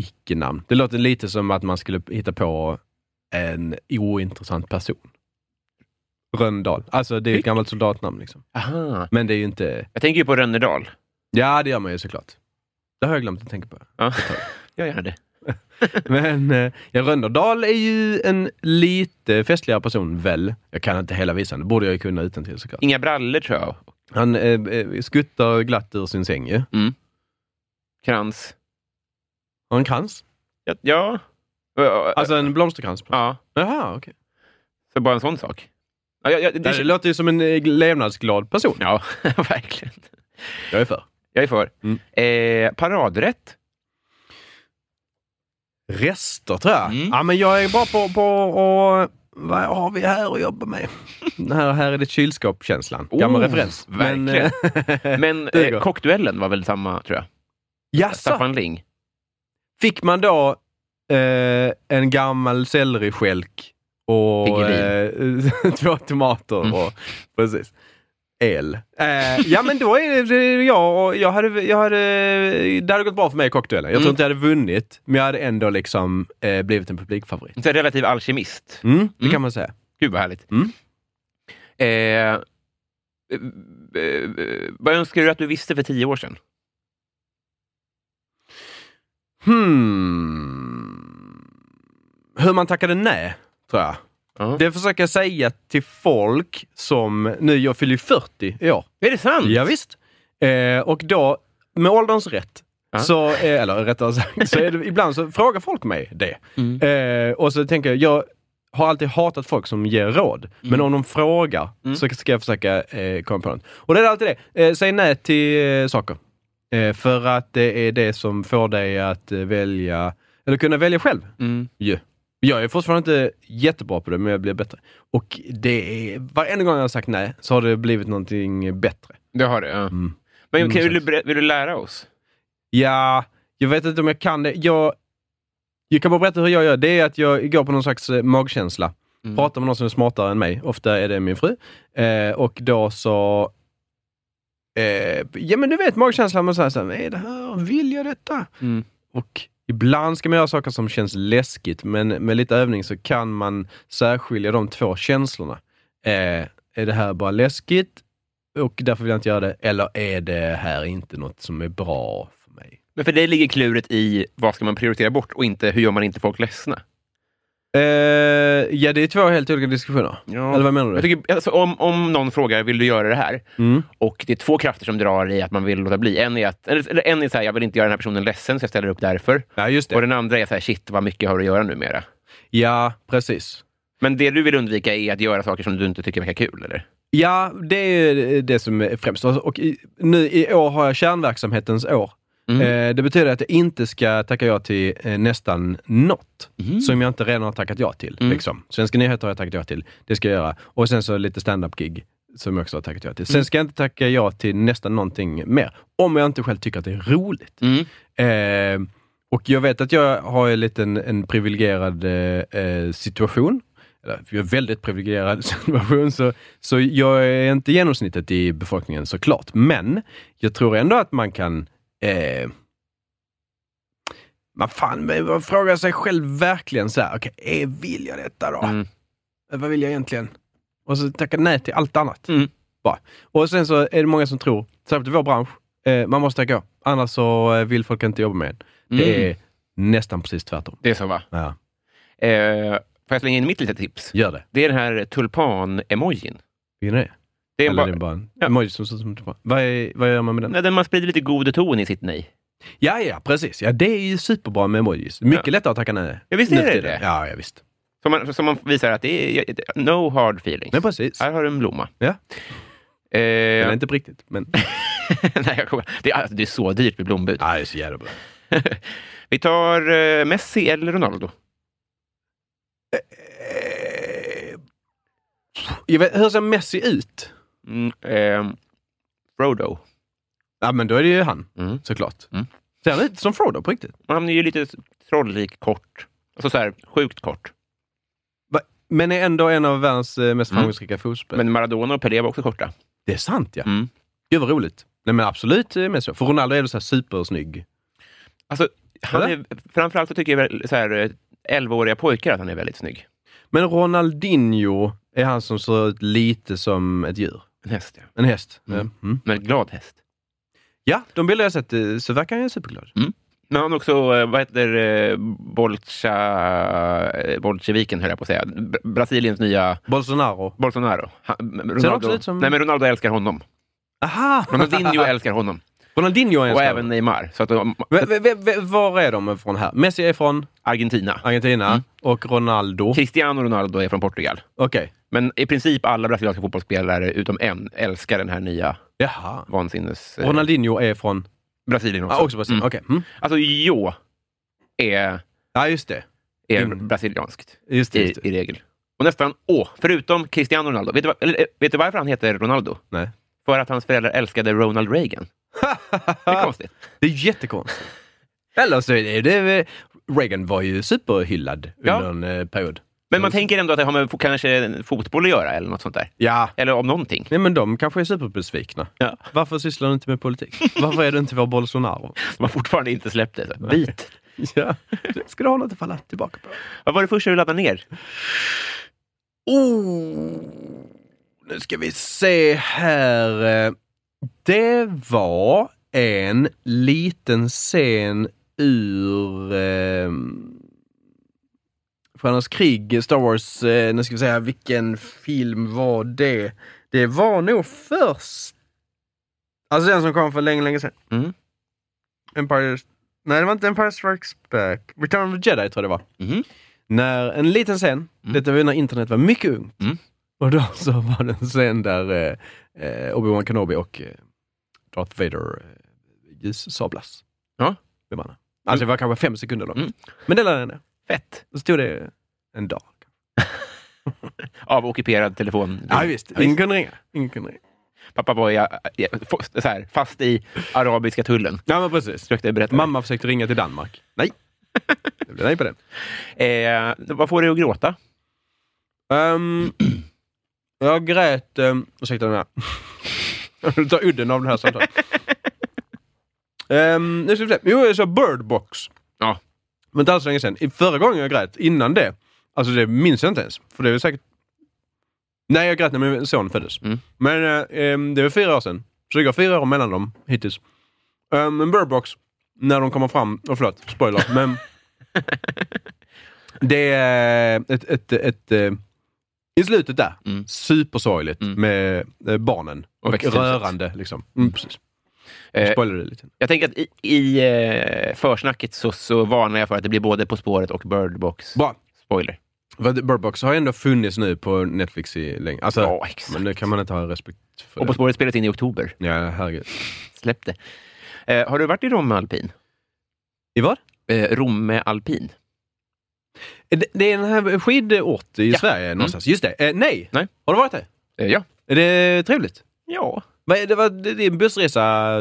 Speaker 3: icke-namn. Det låter lite som att man skulle hitta på en ointressant person. Röndahl. Alltså, det är ju ett gammalt soldatnamn liksom.
Speaker 2: Aha.
Speaker 3: Men det är ju inte...
Speaker 2: Jag tänker ju på Rönnerdal.
Speaker 3: Ja, det gör man ju såklart. Det har jag glömt att tänka på.
Speaker 2: Ja. Jag gör det.
Speaker 3: Men eh, ja, Rönnerdal är ju en lite festligare person, väl? Jag kan inte hela visan, det borde jag ju kunna utantill såklart.
Speaker 2: Inga brallor tror jag.
Speaker 3: Han eh, eh, skuttar glatt ur sin säng ju.
Speaker 2: Krans.
Speaker 3: Har en krans?
Speaker 2: Ja. ja. Ja,
Speaker 3: Alltså en blomsterkrans? på-
Speaker 2: ja.
Speaker 3: Jaha, okej.
Speaker 2: Så bara en sån sak. Ja, ja, ja, det,
Speaker 3: Det, det låter ju som en eh, levnadsglad person.
Speaker 2: ja verkligen.
Speaker 3: Jag är för.
Speaker 2: Jag är för.
Speaker 3: Mm.
Speaker 2: Eh, paradrätt?
Speaker 3: Rester, tror jag.
Speaker 2: Mm.
Speaker 3: Ja, men jag är bra på, på och, vad har vi här att jobba med? Det här, här är det kylskåp-känslan. Gammal
Speaker 2: Oh,
Speaker 3: referens.
Speaker 2: verkligen.
Speaker 3: Men, eh,
Speaker 2: Men
Speaker 3: Duger.
Speaker 2: eh, kockduellen var väl samma, tror jag?
Speaker 3: Jaså?
Speaker 2: Staffan Ling.
Speaker 3: fick man då eh, en gammal selleristjälk och
Speaker 2: Pingvin.
Speaker 3: eh, två tomater
Speaker 2: Mm.
Speaker 3: och precis. El. Eh, ja men då är det- det är jag och jag hade, jag hade, det hade gått bra för mig i cocktailduellen. Jag tror
Speaker 2: Mm.
Speaker 3: inte jag hade vunnit, men jag hade ändå liksom eh, blivit en publikfavorit.
Speaker 2: En sån här relativ alkemist.
Speaker 3: Mm, det
Speaker 2: Mm.
Speaker 3: kan man säga.
Speaker 2: Gud vad härligt.
Speaker 3: Mm.
Speaker 2: Eh, eh, eh, vad önskar du att du visste för tio år sedan?
Speaker 3: Hmm. Hur man tackade nej, tror jag.
Speaker 2: Ja.
Speaker 3: Det försöker jag säga till folk som, nu jag fyller ju 40 i år.
Speaker 2: Är det sant?
Speaker 3: Ja, visst. Eh, och då, med ålderns rätt,
Speaker 2: Ja.
Speaker 3: så, eh, eller rättare sagt, så är det, ibland så frågar folk mig det.
Speaker 2: Mm.
Speaker 3: Eh, och så tänker jag, jag har alltid hatat folk som ger råd.
Speaker 2: Mm.
Speaker 3: Men om de frågar så ska jag försöka eh, komma på något. Och det är alltid det, eh, säg nej till eh, saker. Eh, för att det är det som får dig att eh, välja, eller kunna välja själv.
Speaker 2: Mm.
Speaker 3: ju. Jag är fortfarande inte jättebra på det, men jag blir bättre. Och det är, varenda gång jag har sagt nej så har det blivit någonting bättre.
Speaker 2: Det har det, ja.
Speaker 3: Mm.
Speaker 2: Men okej,
Speaker 3: Mm,
Speaker 2: vill, du, ber- vill du lära oss?
Speaker 3: Ja, jag vet inte om jag kan det. Jag, jag kan bara berätta hur jag gör. Det är att jag går på någon slags eh, magkänsla. Pratar med någon som är smartare än mig. Ofta är det min fru. Eh, och då så... Eh, ja, men du vet magkänslan. Man säger så här, är det här, vill jag detta?
Speaker 2: Mm.
Speaker 3: Och ibland ska man göra saker som känns läskigt, men med lite övning så kan man särskilja de två känslorna. Eh, är det här bara läskigt och därför vill jag inte göra det. Eller är det här inte något som är bra för mig?
Speaker 2: Men för dig ligger kluret i vad ska man prioritera bort och inte hur gör man inte folk ledsna?
Speaker 3: Eh, ja, det är två helt olika diskussioner. Eller vad menar du?
Speaker 2: Jag tycker, alltså, om, om någon frågar, vill du göra det här?
Speaker 3: Mm.
Speaker 2: Och det är två krafter som drar i att man vill låta bli. En är att, eller, eller en är så här, jag vill inte göra den här personen ledsen, så jag ställer upp därför.
Speaker 3: Ja, just
Speaker 2: Och
Speaker 3: det.
Speaker 2: den andra är så här, shit vad mycket jag har att göra numera.
Speaker 3: Ja, precis.
Speaker 2: Men det du vill undvika är att göra saker som du inte tycker verkar kul, eller?
Speaker 3: Ja, det är eh, det som är främst. Och i, nu i år har jag kärnverksamhetens år. Eh, det betyder att jag inte ska tacka ja till eh, nästan något som jag inte redan har tackat ja till. Liksom. Svenska nyheter har jag tackat ja till. Det ska jag göra. Och sen så lite stand-up-gig som jag också har tackat ja till. Sen ska jag inte tacka ja till nästan någonting mer. Om jag inte själv tycker att det är roligt. Eh, och jag vet att jag har en liten en privilegierad eh, eh, situation. Eller, Jag är väldigt privilegierad situation, så, så jag är inte genomsnittet i befolkningen såklart. Men jag tror ändå att man kan... Eh, man fan, men man frågar sig själv verkligen så här, okej, eh, vill jag detta då?
Speaker 2: Mm.
Speaker 3: Eh, Vad vill jag egentligen? Och så tacka nej till allt annat.
Speaker 2: Mm.
Speaker 3: Bara. Och sen så är det många som tror, särskilt i vår bransch, eh, man måste tacka ja. Annars så eh, vill folk inte jobba med en.
Speaker 2: Mm.
Speaker 3: Det är nästan precis tvärtom.
Speaker 2: Det är så va?
Speaker 3: Ja.
Speaker 2: Eh, får jag slänga in mitt lilla tips?
Speaker 3: Gör det.
Speaker 2: Det är den här tulpan-emojin.
Speaker 3: Vilken är det?
Speaker 2: Det är
Speaker 3: Eller
Speaker 2: bara,
Speaker 3: det är bara en
Speaker 2: Ja.
Speaker 3: emoji som ser ut som vad, är, vad gör man med den?
Speaker 2: Nej, den man sprider lite god ton i sitt nej.
Speaker 3: Ja, ja, precis. Ja, det är ju superbra med emojis. Mycket
Speaker 2: Ja.
Speaker 3: lättare att tacka nej.
Speaker 2: Ja, visst är
Speaker 3: nu
Speaker 2: det
Speaker 3: för tiden.
Speaker 2: det.
Speaker 3: Ja, ja, visst.
Speaker 2: Som man, som man visar att det är no hard feelings.
Speaker 3: Men precis.
Speaker 2: Här har du en blomma.
Speaker 3: Ja.
Speaker 2: Eh,
Speaker 3: Den är inte på riktigt, men...
Speaker 2: nej, jag kommer, det, är, alltså, det är så dyrt med blombud.
Speaker 3: Ja, det är så jävla bra.
Speaker 2: Vi tar eh, Messi eller Ronaldo.
Speaker 3: Eh, Jag vet, hur ser Messi ut?
Speaker 2: Mm, ehm, Frodo.
Speaker 3: Ja, men då är det ju han,
Speaker 2: Mm.
Speaker 3: såklart.
Speaker 2: Mm.
Speaker 3: Ser han ut som Frodo på riktigt?
Speaker 2: Han är ju lite trolllik kort. Alltså så här, sjukt kort.
Speaker 3: Va? Men är ändå en av världens eh, mest
Speaker 2: Mm.
Speaker 3: framgångsrika fotbollsspelare.
Speaker 2: Men Maradona och Pelé var också korta.
Speaker 3: Det är sant, ja.
Speaker 2: Mm.
Speaker 3: Gud vad roligt. Nej, men absolut eh, Messi. För Ronaldo är väl så här supersnygg.
Speaker 2: Alltså, han
Speaker 3: Eller?
Speaker 2: är, framförallt så tycker jag väl så här, eh, 11-åriga pojkar att han är väldigt snygg.
Speaker 3: Men Ronaldinho är han som ser ut lite som ett djur.
Speaker 2: En häst, ja.
Speaker 3: En häst.
Speaker 2: Mm.
Speaker 3: Ja. Mm.
Speaker 2: Men en glad häst.
Speaker 3: Ja, de bilder jag sett eh, så verkar han ju superglad.
Speaker 2: Men han har också, eh, vad heter eh, Bolcha, eh, Bolsjeviken höll jag på att säga. Br- Brasiliens nya
Speaker 3: Bolsonaro.
Speaker 2: Bolsonaro. Han,
Speaker 3: också
Speaker 2: Ronaldo,
Speaker 3: ut som-
Speaker 2: Nej, men Ronaldo älskar honom.
Speaker 3: Aha!
Speaker 2: Ronaldinho älskar honom.
Speaker 3: Ronaldinho är en
Speaker 2: Och
Speaker 3: skådespelare.
Speaker 2: även Neymar. Så att de,
Speaker 3: V- v- v- Var är de från här? Messi är från
Speaker 2: Argentina.
Speaker 3: Argentina
Speaker 2: Mm.
Speaker 3: och Ronaldo. Okej.
Speaker 2: Cristiano Ronaldo är från Portugal. Men i princip alla brasilianska fotbollsspelare utom en älskar den här nya
Speaker 3: Jaha.
Speaker 2: vansinnes... eh,
Speaker 3: Ronaldinho är från...
Speaker 2: Brasilien också.
Speaker 3: Ah, också Brasilien.
Speaker 2: Mm.
Speaker 3: Okej. Mm.
Speaker 2: Alltså, Jo är,
Speaker 3: Ja, just det.
Speaker 2: är
Speaker 3: Mm.
Speaker 2: brasilianskt
Speaker 3: Just det,
Speaker 2: i,
Speaker 3: just det.
Speaker 2: i regel. Och nästan Å, förutom Cristiano Ronaldo. Vet du, vad- eller, eh, vet du varför han heter Ronaldo?
Speaker 3: Nej.
Speaker 2: För att hans föräldrar älskade Ronald Reagan. Det är konstigt.
Speaker 3: Ah, Det är jättekonstigt. Eller så är det... Reagan var ju superhyllad
Speaker 2: Ja.
Speaker 3: under en eh, period.
Speaker 2: Men man tänker ändå att det har med fo- kanske fotboll att göra eller något sånt där.
Speaker 3: Ja.
Speaker 2: Eller om någonting.
Speaker 3: Nej, men de kanske är superbesvikna.
Speaker 2: Ja.
Speaker 3: Varför sysslar du inte med politik? Varför är du inte vår Bolsonaro?
Speaker 2: De har fortfarande inte släppt det. Så. Bit.
Speaker 3: Ja. Ska du ha något att falla tillbaka på?
Speaker 2: Vad var det första du laddade ner?
Speaker 3: Nu ska vi se här. Det var en liten scen ur eh, Stjärnornas krig, Star Wars. Eh, nu ska vi säga, vilken film var det? Det var nog först... Alltså den som kom för länge, länge sedan.
Speaker 2: Mm.
Speaker 3: Empire... Nej, det var inte Empire Strikes Back. Return of the Jedi tror jag det var.
Speaker 2: Mhm.
Speaker 3: När en liten scen, detta var ju när internet var mycket ungt,
Speaker 2: Mm.
Speaker 3: och då så var det en scen där eh, eh, Obi-Wan Kenobi och eh, Darth Vader eh, ljussablas.
Speaker 2: Ja.
Speaker 3: Med varandra. Alltså det var kanske fem sekunder långt.
Speaker 2: Mm.
Speaker 3: Men det lärde jag mig.
Speaker 2: Fett.
Speaker 3: Då stod det en dag.
Speaker 2: Av ockuperad telefon.
Speaker 3: Ja, visst. Ingen kunde ringa. Ingen kunde ringa.
Speaker 2: Pappa var jag, så här, fast i arabiska tullen.
Speaker 3: Ja, men precis.
Speaker 2: Försökte jag berätta.
Speaker 3: Mamma försökte ringa till Danmark. Nej. Det blev nej på den.
Speaker 2: Eh, vad får dig att gråta?
Speaker 3: Ehm, jag grät... Um, ursäkta den här. Du tar udden av den här samtalet. Ehm, nu ska vi se. Jo, jag sa Bird Box.
Speaker 2: Ja.
Speaker 3: Men inte alls alltså så länge sedan. I- Förra gången jag grät, innan det, alltså det minns jag inte ens. För det är väl säkert Nej, jag grät när min son föddes.
Speaker 2: Mm.
Speaker 3: Men eh, em, det var fyra år sedan. Så det går fyra år mellan dem hittills. Eh, men Burbox, när de kommer fram... Oh, förlåt, spoiler. men det är ett... ett, ett eh, I slutet där,
Speaker 2: Mm.
Speaker 3: supersorgligt
Speaker 2: Mm.
Speaker 3: med eh, barnen.
Speaker 2: Och
Speaker 3: Och,
Speaker 2: växthuset.
Speaker 3: rörande liksom. Mm, precis.
Speaker 2: Eh,
Speaker 3: Jag spoilade det lite.
Speaker 2: Jag tänker att i, i eh, försnacket så, så varnar jag för att det blir både På spåret och Bird Box.
Speaker 3: Bra.
Speaker 2: Spoiler.
Speaker 3: Burbox har ju ändå funnits nu på Netflix i länge. Alltså,
Speaker 2: Ja, exakt.
Speaker 3: Men nu kan man inte ha respekt för
Speaker 2: Och På
Speaker 3: det.
Speaker 2: spåret spelas in i oktober.
Speaker 3: Ja, herregud.
Speaker 2: Släpp det. Eh, har du varit i Romme alpin?
Speaker 3: I vad?
Speaker 2: Eh, Romme alpin?
Speaker 3: Det, det är en här skidort i
Speaker 2: Ja. Mm.
Speaker 3: Sverige någonstans. Just det. Eh, nej.
Speaker 2: Nej.
Speaker 3: Har du varit där?
Speaker 2: Eh, ja.
Speaker 3: Är det trevligt?
Speaker 2: Ja.
Speaker 3: Vad är Det, var, det, det är en bussresa,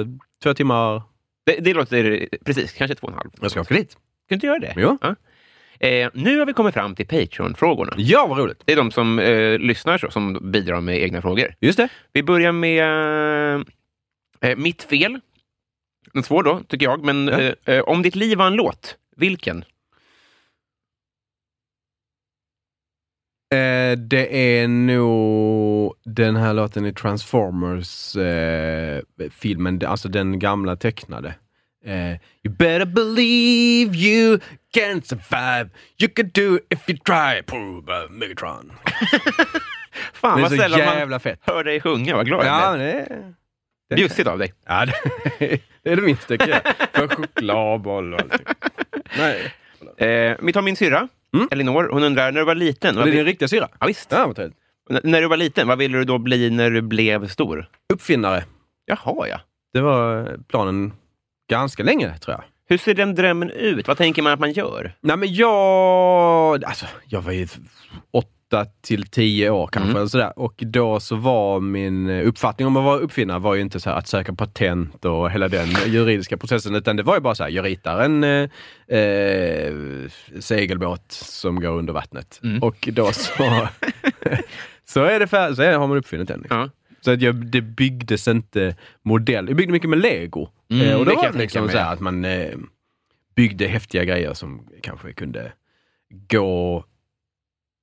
Speaker 3: två timmar.
Speaker 2: Det, det låter precis, kanske två och en halv.
Speaker 3: Jag ska åka dit.
Speaker 2: Kan inte göra det?
Speaker 3: Jo.
Speaker 2: Ja. Eh, nu har vi kommit fram till Patreon-frågorna.
Speaker 3: Ja, vad roligt.
Speaker 2: Det är de som eh, lyssnar så, som bidrar med egna frågor.
Speaker 3: Just det.
Speaker 2: Vi börjar med eh, Mitt fel. En svår då, tycker jag. Men
Speaker 3: Ja.
Speaker 2: eh, eh, om ditt liv var en låt, vilken?
Speaker 3: Eh, det är nog den här låten i Transformers-filmen, alltså den gamla tecknade. Eh, you better believe you can survive, you can do it if you try, prove Megatron.
Speaker 2: Fan,
Speaker 3: Det är
Speaker 2: vad
Speaker 3: så
Speaker 2: sällan man
Speaker 3: jävla fett.
Speaker 2: hör dig sjunga. Vad glad jag
Speaker 3: Ja,
Speaker 2: blev.
Speaker 3: det är...
Speaker 2: Bjussigt av dig.
Speaker 3: Ja, det, det är det minsta jag kan göra. För chokladboll och allting. Nej.
Speaker 2: Eh, vi tar min syrra,
Speaker 3: Mm.
Speaker 2: Elinor. Hon undrar, när du var liten...
Speaker 3: Det är
Speaker 2: Vad vill...
Speaker 3: din riktiga syra?
Speaker 2: ja, visst.
Speaker 3: Ja, vad trevligt.
Speaker 2: N- När du var liten, vad ville du då bli när du blev stor?
Speaker 3: Uppfinnare.
Speaker 2: Jaha, ja.
Speaker 3: Det var planen ganska länge, tror jag.
Speaker 2: Hur ser den drömmen ut? Vad tänker man att man gör?
Speaker 3: Nej, men jag... Alltså, jag var ju åtta till tio år kanske.
Speaker 2: Mm.
Speaker 3: Eller sådär. Och då så var min uppfattning om att vara uppfinnare var ju inte så här att söka patent och hela den juridiska processen. Utan det var ju bara så här, jag ritar en eh, eh, segelbåt som går under vattnet.
Speaker 2: Mm.
Speaker 3: Och då så... så är det fär- så är, har man uppfunnit den. liksom.
Speaker 2: Ja.
Speaker 3: Så att jag, det byggdes inte modell. Jag byggde mycket med lego.
Speaker 2: Mm,
Speaker 3: eh, och
Speaker 2: det
Speaker 3: då
Speaker 2: kan
Speaker 3: var
Speaker 2: jag
Speaker 3: det
Speaker 2: tänka
Speaker 3: liksom
Speaker 2: mig.
Speaker 3: så här att man eh, byggde häftiga grejer som kanske kunde gå...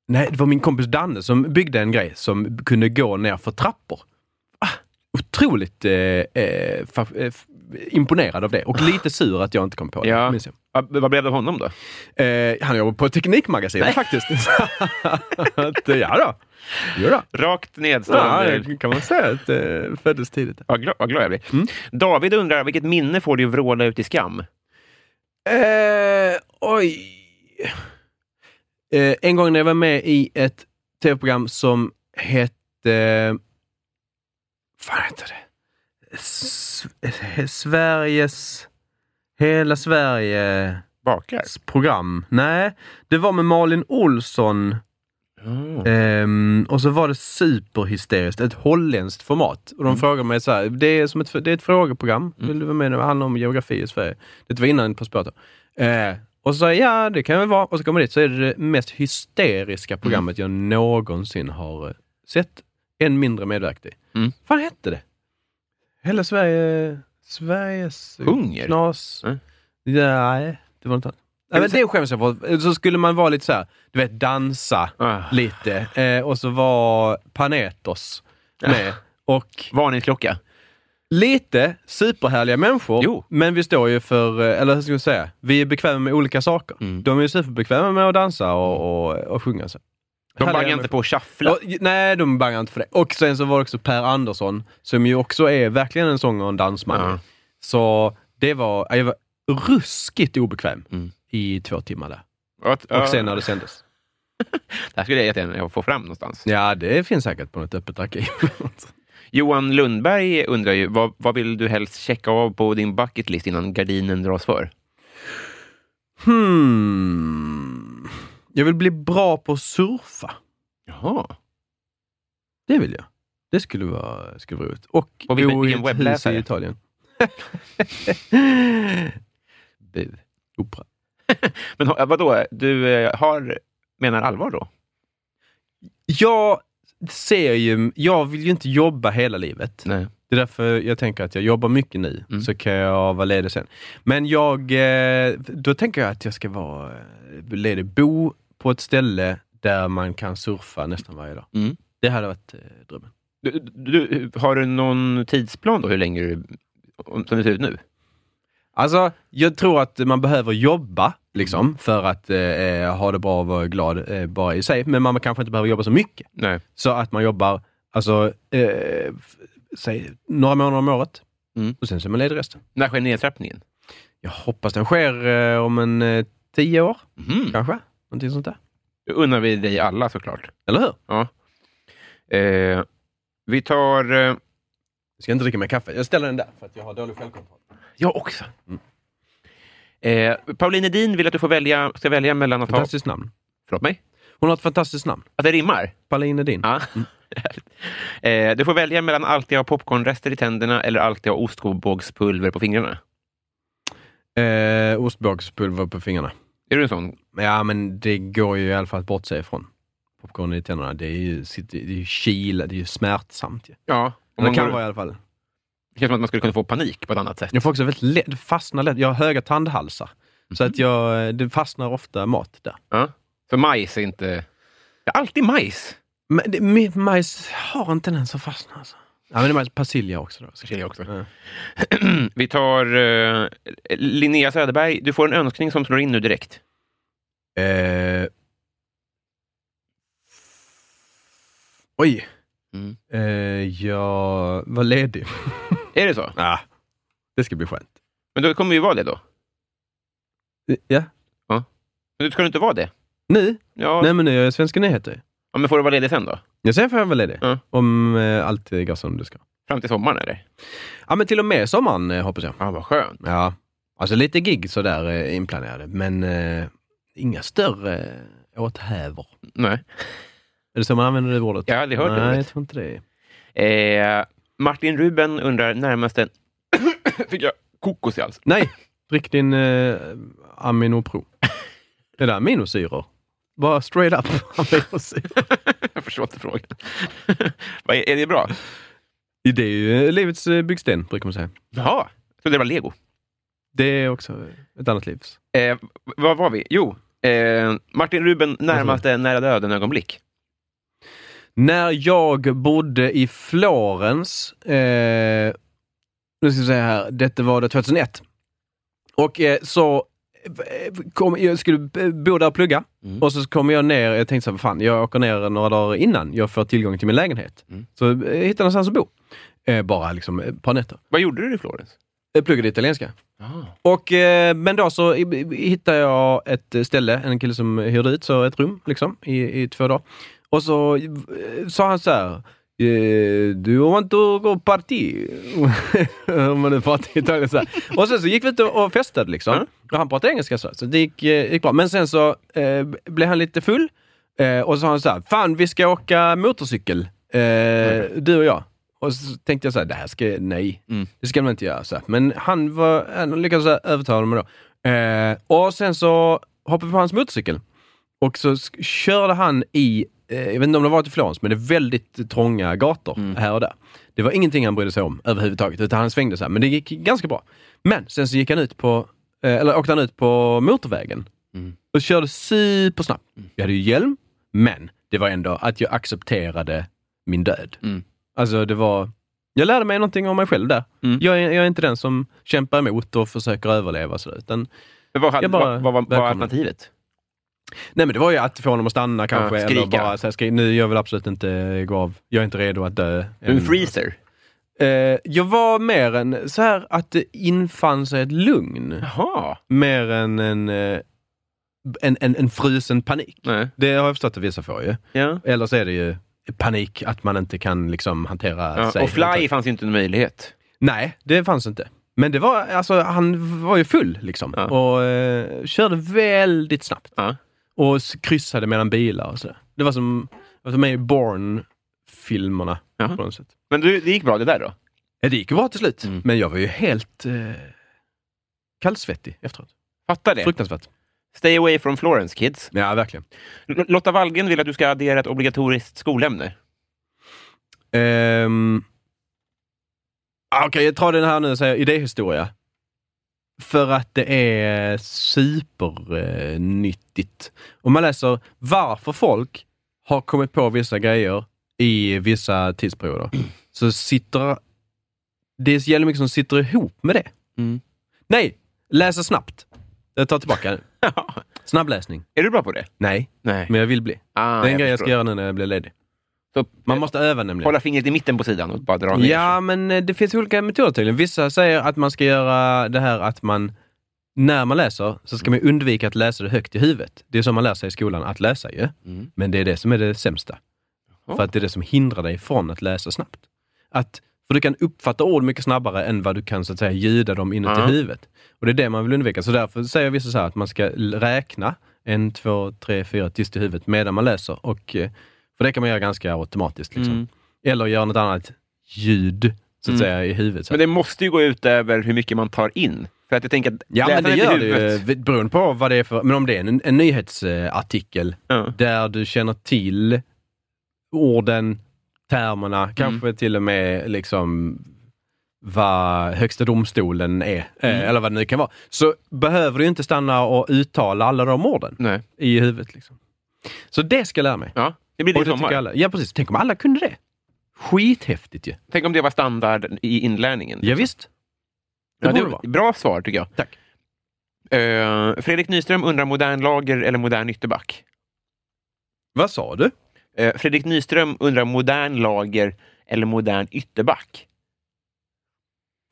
Speaker 3: Nej, det var min kompis Danne som byggde en grej som kunde gå ner för trappor. Ah, otroligt eh, eh, fa- eh, f- imponerad av det och lite sur att jag inte kom på det.
Speaker 2: Ah. Ja.
Speaker 3: minns jag.
Speaker 2: Vad, vad blev det av honom då?
Speaker 3: Eh, han jobbar på Teknikmagasinet faktiskt. Att, eh, ja då. Jo då.
Speaker 2: Rakt
Speaker 3: Ja,
Speaker 2: nedstående.
Speaker 3: det kan man säga att eh, föddes tidigt.
Speaker 2: Vad glad, vad glad jag blir.
Speaker 3: Mm.
Speaker 2: David undrar, vilket minne får du vråla ut i skam?
Speaker 3: Eh, oj. Eh, en gång när jag var med i ett tv-program som hette... Fan heter det? S- eh, Sveriges... Hela Sveriges
Speaker 2: Bakar?
Speaker 3: program. Nej, det var med Malin Olsson.
Speaker 2: Ah.
Speaker 3: Ehm, och så var det superhysteriskt, ett holländskt format.
Speaker 2: Mm.
Speaker 3: Och de frågade mig så här, det är, som ett, det är ett frågeprogram, vill du vara med? Det handlar om geografi i Sverige. Det var innan På spåret. då. Eh, och så sa jag, ja det kan jag väl vara. Och så kommer jag dit, så är det det mest
Speaker 2: Mm.
Speaker 3: hysteriska programmet jag någonsin har eh, sett. En mindre medverkat i.
Speaker 2: Mm.
Speaker 3: Vad hette det? Hela Sverige... Sveriges...
Speaker 2: Hunger?
Speaker 3: Knas...
Speaker 2: Mm.
Speaker 3: Nej, det var inte annat. Nej, men det skäms jag för. Så skulle man vara lite så här, du vet dansa
Speaker 2: Ah.
Speaker 3: lite. Eh, och så var Panetos
Speaker 2: Ah.
Speaker 3: med. Och
Speaker 2: Varningsklocka.
Speaker 3: lite superhärliga människor,
Speaker 2: Jo.
Speaker 3: men vi står ju för, eh, eller hur ska man säga, vi är bekväma med olika saker.
Speaker 2: Mm.
Speaker 3: De är ju superbekväma med att dansa och, och, och sjunga. Så.
Speaker 2: De
Speaker 3: Härliga
Speaker 2: bangar inte på att
Speaker 3: Ja,
Speaker 2: sjaffla.
Speaker 3: j- nej, de bangar inte för det. Och sen så var det också Per Andersson, som ju också är verkligen en sångare och en dansman.
Speaker 2: Ja.
Speaker 3: Så det var, jag var ruskigt obekväm
Speaker 2: Mm.
Speaker 3: i två timmar där.
Speaker 2: Att-
Speaker 3: Och
Speaker 2: ja.
Speaker 3: sen när det sändes.
Speaker 2: Det här skulle jag jättegärna få fram någonstans.
Speaker 3: Ja, det finns säkert på något öppet arkiv.
Speaker 2: Johan Lundberg undrar ju, vad, vad vill du helst checka av på din bucket list innan gardinen dras för?
Speaker 3: hmm. Jag vill bli bra på att surfa.
Speaker 2: Jaha.
Speaker 3: Det vill jag. Det skulle vara, skulle vara roligt. Och
Speaker 2: Och vilken-
Speaker 3: bo i
Speaker 2: vilken
Speaker 3: ett hus
Speaker 2: webbläsare?
Speaker 3: i Italien.
Speaker 2: Bu.
Speaker 3: Opera.
Speaker 2: Men ha- vadå, du eh, har, menar allvar då?
Speaker 3: Jag ser ju, jag vill ju inte jobba hela livet.
Speaker 2: Nej.
Speaker 3: Det är därför jag tänker att jag jobbar mycket nu,
Speaker 2: Mm.
Speaker 3: så kan jag vara ledig sen. Men jag, eh, då tänker jag att jag ska vara eh, ledig, bo på ett ställe där man kan surfa nästan varje dag.
Speaker 2: Mm.
Speaker 3: Det hade varit eh, drömmen.
Speaker 2: Du, du, har du någon tidsplan då, hur länge du, om- som det ser ut nu?
Speaker 3: Alltså, jag tror att man behöver jobba
Speaker 2: Mm.
Speaker 3: liksom, för att eh, ha det bra och vara glad eh, bara i sig. Men man kanske inte behöver jobba så mycket.
Speaker 2: Nej.
Speaker 3: Så att man jobbar, alltså, eh, f- säg några månader om året.
Speaker 2: Mm.
Speaker 3: Och sen så är man ledig resten.
Speaker 2: När sker nedtrappningen?
Speaker 3: Jag hoppas den sker eh, om en eh, tio år,
Speaker 2: Mm.
Speaker 3: kanske. Någonting sånt där.
Speaker 2: Det unnar vi dig alla såklart.
Speaker 3: Eller hur?
Speaker 2: Ja. Eh, vi tar... Eh,
Speaker 3: Jag ska inte dricka mer kaffe. Jag ställer den där, för att jag har dålig självkontroll.
Speaker 2: jag också. Eh, Pauline Edin vill att du får välja, ska välja mellan att ha...
Speaker 3: Fantastiskt namn.
Speaker 2: Förlåt mig?
Speaker 3: Hon har ett fantastiskt namn.
Speaker 2: Att det rimmar?
Speaker 3: Pauline Edin.
Speaker 2: Ja. eh, du får välja mellan alltid ha popcornrester i tänderna eller alltid ha ostbågspulver på fingrarna.
Speaker 3: Eh, ostbågspulver på fingrarna.
Speaker 2: Är du en sån?
Speaker 3: Ja, men det går ju i alla fall att bortse ifrån. Popcorn i tänderna, det är ju, sitter- det är ju kyla, det är ju smärtsamt. Ju.
Speaker 2: Ja. Om
Speaker 3: Det
Speaker 2: man
Speaker 3: kan
Speaker 2: går,
Speaker 3: vara i alla fall.
Speaker 2: Det känns som att man skulle kunna få panik på ett annat sätt.
Speaker 3: Jag får också väldigt lätt, det fastnar lätt, jag har höga tandhalsar. Så att jag, eh, det fastnar ofta mat där.
Speaker 2: Ja. För majs är inte... Ja, alltid majs.
Speaker 3: Men det, mitt majs har en tendens att fastna alltså. Ja, men det är majs, persilja också då.
Speaker 2: Så ser jag också.
Speaker 3: Ja. Mm.
Speaker 2: Vi tar eh, Linnea Söderberg. Du får en önskning som slår in nu direkt.
Speaker 3: Eh... Oj!
Speaker 2: Mm.
Speaker 3: Eh, jag var ledig.
Speaker 2: Är det så?
Speaker 3: ah, det ska bli skönt.
Speaker 2: Men då kommer vi ju vara det då.
Speaker 3: Ja.
Speaker 2: Men du ska du inte vara det?
Speaker 3: Nu?
Speaker 2: Ja,
Speaker 3: Nej, men nu är jag Svenska nyheter.
Speaker 2: ja men får du vara ledig sen då?
Speaker 3: Ja, sen får jag vara ledig.
Speaker 2: Ja.
Speaker 3: Om eh, allt går som det ska.
Speaker 2: Fram till sommaren eller?
Speaker 3: Ja, men till och med sommaren eh, hoppas jag.
Speaker 2: Ja, Ah, vad skönt.
Speaker 3: Ja. Alltså lite gig sådär eh, inplanerade, men eh, inga större eh, åthävor.
Speaker 2: Nej,
Speaker 3: Är det så man använder det ordet?
Speaker 2: jag har aldrig hört
Speaker 3: Nej,
Speaker 2: det
Speaker 3: jag
Speaker 2: ordet.
Speaker 3: tror inte det.
Speaker 2: eh, Martin Ruben undrar närmaste... Fick jag kokos i halsen?
Speaker 3: Nej, drick din eh, Aminopro. Det där aminosyror. Bara straight up aminosyror.
Speaker 2: jag förstår inte frågan. Vad är, är det bra?
Speaker 3: Det är ju eh, livets eh, byggsten, brukar man säga.
Speaker 2: Jaha, jag trodde det var lego.
Speaker 3: Det är också ett annat livs.
Speaker 2: Eh, vad var vi? Jo, eh, Martin Ruben närmaste nära döden-ögonblick.
Speaker 3: När jag bodde i Florens, eh, nu ska vi säga här, detta var det 2001. Och eh, så eh, kom, jag skulle b- bo där och plugga
Speaker 2: Mm.
Speaker 3: och så kom jag ner, jag tänkte så här, "Vad fan, jag åker ner några dagar innan jag får tillgång till min lägenhet.
Speaker 2: Mm.
Speaker 3: Så eh, hittade någonstans att bo. Eh, bara liksom ett par nätter.
Speaker 2: Vad gjorde du i Florens?
Speaker 3: Jag pluggade italienska. Och, eh, men då så i- i- hittade jag ett eh, ställe, en kille som hyrde ut så ett rum liksom, i, i två dagar. Och så eh, sa han så här, eh, du want to go party? Om man nu pratar Italien så här. Och sen så gick vi ut och och festade liksom.
Speaker 2: Mm.
Speaker 3: Och han pratade engelska så, så det gick, eh, gick bra. Men sen så eh, blev han lite full eh, och så sa han så här, fan vi ska åka motorcykel, eh, du och jag. Och så tänkte jag så här, det här ska, nej,
Speaker 2: Mm.
Speaker 3: det ska man inte göra. Så här. Men han, var, han lyckades övertala mig då. Eh, och sen så hoppade vi på hans motorcykel. Och så sk- körde han i, eh, jag vet inte om det var till Florens, men det är väldigt trånga gator här och där. Det var ingenting han brydde sig om överhuvudtaget, utan han svängde så här. Men det gick ganska bra. Men sen så gick han ut på, eh, eller åkte han ut på motorvägen och körde supersnabbt. Jag hade ju hjälm, men det var ändå att jag accepterade min död.
Speaker 2: Mm.
Speaker 3: Alltså det var, jag lärde mig någonting om mig själv där.
Speaker 2: Mm.
Speaker 3: Jag, är, jag är inte den som kämpar emot och försöker överleva, så, där, utan
Speaker 2: Men vad, hade,
Speaker 3: Jag bara-
Speaker 2: vad, vad, vad var
Speaker 3: välkommen.
Speaker 2: alternativet?
Speaker 3: Nej men det var ju att få honom att stanna kanske.
Speaker 2: Ja,
Speaker 3: eller
Speaker 2: skrika.
Speaker 3: bara så här, skri- nu jag vill absolut inte gå av. Jag är inte redo att dö.
Speaker 2: Du är
Speaker 3: än."
Speaker 2: en freezer.
Speaker 3: Eh, jag var mer en, så här att det infann sig ett lugn.
Speaker 2: Jaha.
Speaker 3: Mer än en, eh, en, en, en frusen panik.
Speaker 2: Nej.
Speaker 3: Det har jag förstått att vissa får ju.
Speaker 2: Ja.
Speaker 3: Eller så är det ju panik att man inte kan liksom hantera
Speaker 2: Ja.
Speaker 3: sig.
Speaker 2: Och fly fanns ju inte en möjlighet.
Speaker 3: Nej, det fanns inte. Men det var, alltså han var ju full liksom.
Speaker 2: Ja.
Speaker 3: Och eh, körde väldigt snabbt.
Speaker 2: Ja.
Speaker 3: och s- kryssade mellan bilar och sådär. Det var som, det var med i Born-filmerna
Speaker 2: Jaha.
Speaker 3: på något sätt.
Speaker 2: Men du, det gick bra det där då?
Speaker 3: Ja, det gick ju bra till slut,
Speaker 2: Mm.
Speaker 3: men jag var ju helt eh, kallsvettig efteråt.
Speaker 2: Fattar det.
Speaker 3: Fruktansvärt.
Speaker 2: Stay away from Florence, kids.
Speaker 3: Ja, verkligen.
Speaker 2: L- Lotta Wallgren vill att du ska addera ett obligatoriskt skolämne.
Speaker 3: Ehm, ah, Okej, jag tar den här nu och säger idéhistoria. För att det är supernyttigt. Eh, nyttigt. Om man läser varför folk har kommit på vissa grejer i vissa tidsperioder. Så sitter... Det är så jävla mycket som sitter ihop med det.
Speaker 2: Mm.
Speaker 3: Nej! Läsa snabbt. Jag tar tillbaka det. Snabbläsning.
Speaker 2: Är du bra på det?
Speaker 3: Nej,
Speaker 2: Nej.
Speaker 3: men jag vill bli.
Speaker 2: Ah,
Speaker 3: det är en
Speaker 2: jag
Speaker 3: grej jag
Speaker 2: förstår. Eh,
Speaker 3: ska göra nu när jag blir ledig.
Speaker 2: Så,
Speaker 3: Man måste öva nämligen.
Speaker 2: Hålla fingret i mitten på sidan och bara dra ner.
Speaker 3: Ja, men eh, det finns olika metoder tydligen. Vissa säger att man ska göra det här att man, när man läser, så ska man ju undvika att läsa det högt i huvudet. Det är som man lär sig i skolan, att läsa ju.
Speaker 2: Mm.
Speaker 3: Men det är det som är det sämsta.
Speaker 2: Jaha.
Speaker 3: För att det är det som hindrar dig från att läsa snabbt. Att, för du kan uppfatta ord mycket snabbare än vad du kan så att säga ljuda dem inuti
Speaker 2: Ja.
Speaker 3: huvudet. Och det är det man vill undvika. Så därför säger vissa så här att man ska l- räkna en, två, tre, fyra tyst i huvudet medan man läser. Och, eh, för det kan man göra ganska automatiskt. Liksom.
Speaker 2: Mm.
Speaker 3: Eller göra något annat ljud så
Speaker 2: Mm.
Speaker 3: att säga i huvudet. Så.
Speaker 2: Men
Speaker 3: att-
Speaker 2: det måste ju gå ut över hur mycket man tar in. För att jag tänker att
Speaker 3: ja, men
Speaker 2: läsandet i
Speaker 3: det gör det
Speaker 2: huvudet-
Speaker 3: ju. eh, Beroende på vad det är för... Men om det är en, en nyhetsartikel
Speaker 2: Ja.
Speaker 3: där du känner till orden, termerna,
Speaker 2: Mm.
Speaker 3: kanske till och med liksom vad Högsta domstolen är, eh,
Speaker 2: Mm.
Speaker 3: eller vad det nu kan vara, så behöver du inte stanna och uttala alla de orden
Speaker 2: Nej.
Speaker 3: i huvudet. Liksom. Så det ska jag lära mig.
Speaker 2: Ja, det blir
Speaker 3: Och
Speaker 2: din
Speaker 3: det tycker
Speaker 2: sommar.
Speaker 3: alla. Ja, precis. Tänk om alla kunde det. Skithäftigt ju.
Speaker 2: Tänk om det var standard i inlärningen.
Speaker 3: Ja, visst. Det
Speaker 2: Ja,
Speaker 3: borde
Speaker 2: det
Speaker 3: det vara.
Speaker 2: bra svar tycker jag.
Speaker 3: Tack.
Speaker 2: Eh, Fredrik Nyström undrar modern lager eller modern ytterback?
Speaker 3: Vad sa du?
Speaker 2: Eh, Fredrik Nyström undrar modern lager eller modern ytterback?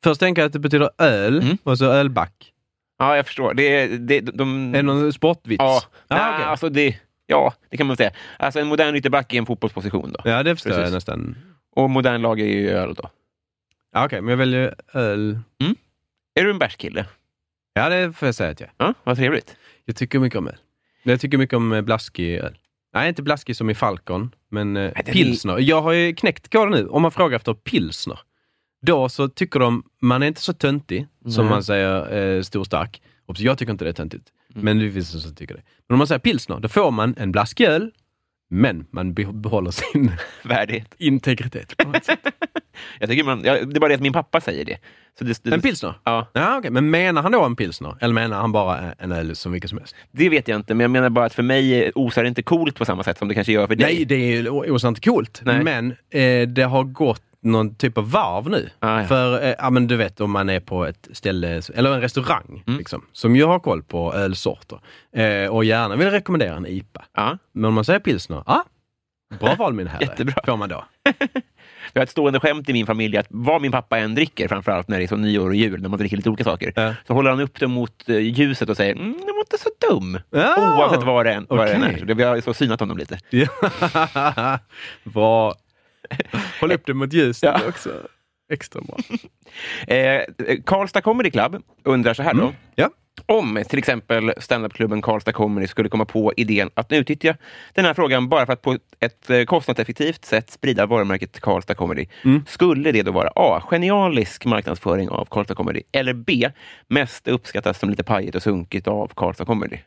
Speaker 3: Först tänker jag att det betyder öl
Speaker 2: Mm.
Speaker 3: och så ölback.
Speaker 2: Ja, jag förstår. Det, är- det, de...
Speaker 3: Är det någon sportvits?
Speaker 2: Mm. Ja,
Speaker 3: Ah,
Speaker 2: nej,
Speaker 3: okej.
Speaker 2: alltså det, ja, det kan man säga. Alltså en modern ytterback är en fotbollsposition då.
Speaker 3: ja det förstår
Speaker 2: Precis.
Speaker 3: jag nästan.
Speaker 2: Och modern lager är ju öl då.
Speaker 3: Ja, Okej, men jag väljer öl.
Speaker 2: Är du en bärskille?
Speaker 3: Ja, det får jag säga att jag är.
Speaker 2: Ja, vad trevligt.
Speaker 3: Jag tycker mycket om öl. Jag tycker mycket om eh, blaskig öl. Nej, inte blaskig som i Falcon, men eh,
Speaker 2: den är-
Speaker 3: pilsner. Jag har ju knäckt koden nu. Om man frågar efter pilsner, då så tycker de man är inte så töntig som man säger eh, stor stark. Och så jag tycker inte det är töntigt,
Speaker 2: Mm.
Speaker 3: men det finns de som tycker det. Men om man säger pilsner, då får man en blaskig öl, men man be- behåller sin
Speaker 2: Värdigt.
Speaker 3: integritet. på något sätt.
Speaker 2: Jag tycker man, ja, det är bara det att min pappa säger det. Så det, det
Speaker 3: En pilsner?
Speaker 2: Ja,
Speaker 3: Ja, okej. Men menar han då en pilsner? Eller menar han bara en öl som vilken som helst?
Speaker 2: det vet jag inte, men jag menar bara att för mig osar det inte coolt på samma sätt som det kanske gör för dig.
Speaker 3: Nej, det är ju o- osannolikt coolt.
Speaker 2: Nej.
Speaker 3: Men eh, det har gått någon typ av varv nu.
Speaker 2: Ah, ja.
Speaker 3: För eh, ja, men du vet om man är på ett ställe, eller en restaurang,
Speaker 2: Mm.
Speaker 3: liksom, som ju har koll på ölsorter eh, och gärna vill rekommendera en IPA.
Speaker 2: Ja.
Speaker 3: Men om man säger pilsner, ja, bra val min herre,
Speaker 2: Jättebra.
Speaker 3: får man då.
Speaker 2: Vi har ett stående skämt i min familj att vad min pappa än dricker, framförallt när det är så nyår och jul, när man dricker lite olika saker,
Speaker 3: Ja.
Speaker 2: så håller han upp det mot eh, ljuset och säger mm, det var inte så dum.
Speaker 3: Ja.
Speaker 2: Oavsett vad det än, vad det än är.
Speaker 3: Okej.
Speaker 2: Så det- Vi har så synat honom lite.
Speaker 3: Ja. bra. Håll upp det mot ljuset
Speaker 2: Ja.
Speaker 3: också. Extra bra.
Speaker 2: Eh, Karlstad Comedy Club undrar så här då.
Speaker 3: Ja.
Speaker 2: Om till exempel standupklubben Karlstad Comedy skulle komma på idén att utnyttja den här frågan bara för att på ett eh, kostnadseffektivt sätt sprida varumärket Karlstad Comedy. Skulle det då vara A. Genialisk marknadsföring av Karlstad Comedy eller B. Mest uppskattas som lite pajigt och sunkigt av Karlstad Comedy?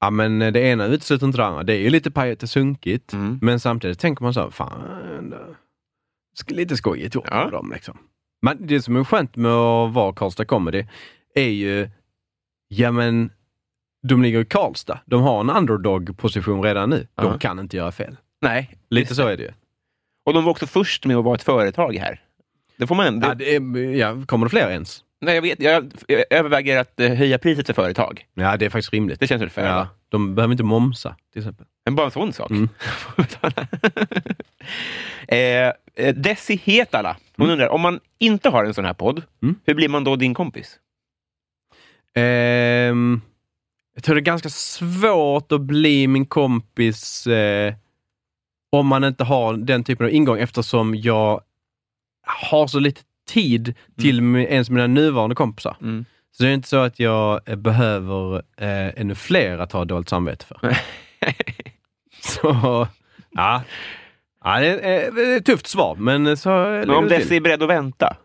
Speaker 3: Ja, men det ena utesluter inte det andra. Det är ju lite pajigt och sunkigt,
Speaker 2: Mm.
Speaker 3: men samtidigt tänker man så här, fan, det sk- lite skojigt gjort
Speaker 2: Ja.
Speaker 3: av dem. Liksom. Men det som är skönt med att vara Karlstad Comedy är ju, ja men, de ligger i Karlstad. De har en underdog-position redan nu.
Speaker 2: Ja.
Speaker 3: De kan inte göra fel.
Speaker 2: Nej.
Speaker 3: Lite så är det ju.
Speaker 2: Och de var också först med att vara ett företag här. Det får man, det,
Speaker 3: Ja, det är, ja, kommer det fler ens?
Speaker 2: nej, jag, vet, jag, jag överväger att eh, höja priset för företag.
Speaker 3: Ja, det är faktiskt rimligt.
Speaker 2: Det känns väl fair? va?
Speaker 3: Ja, de behöver inte momsa, till exempel.
Speaker 2: Men bara en sån sak.
Speaker 3: Mm.
Speaker 2: eh, eh, Desi Hetala, hon undrar, om man inte har en sån här podd,
Speaker 3: Mm.
Speaker 2: hur blir man då din kompis?
Speaker 3: Ehm, jag tror det är ganska svårt att bli min kompis eh, om man inte har den typen av ingång eftersom jag har så lite tid till mi- ens mina nuvarande kompisar.
Speaker 2: Mm.
Speaker 3: Så det är inte så att jag eh, behöver eh, ännu fler att ha dåligt samvete för. så, ja. ja det, är, eh, det är ett tufft svar, men eh, så
Speaker 2: Men
Speaker 3: ligger
Speaker 2: om
Speaker 3: det till.
Speaker 2: Desi är beredd att vänta?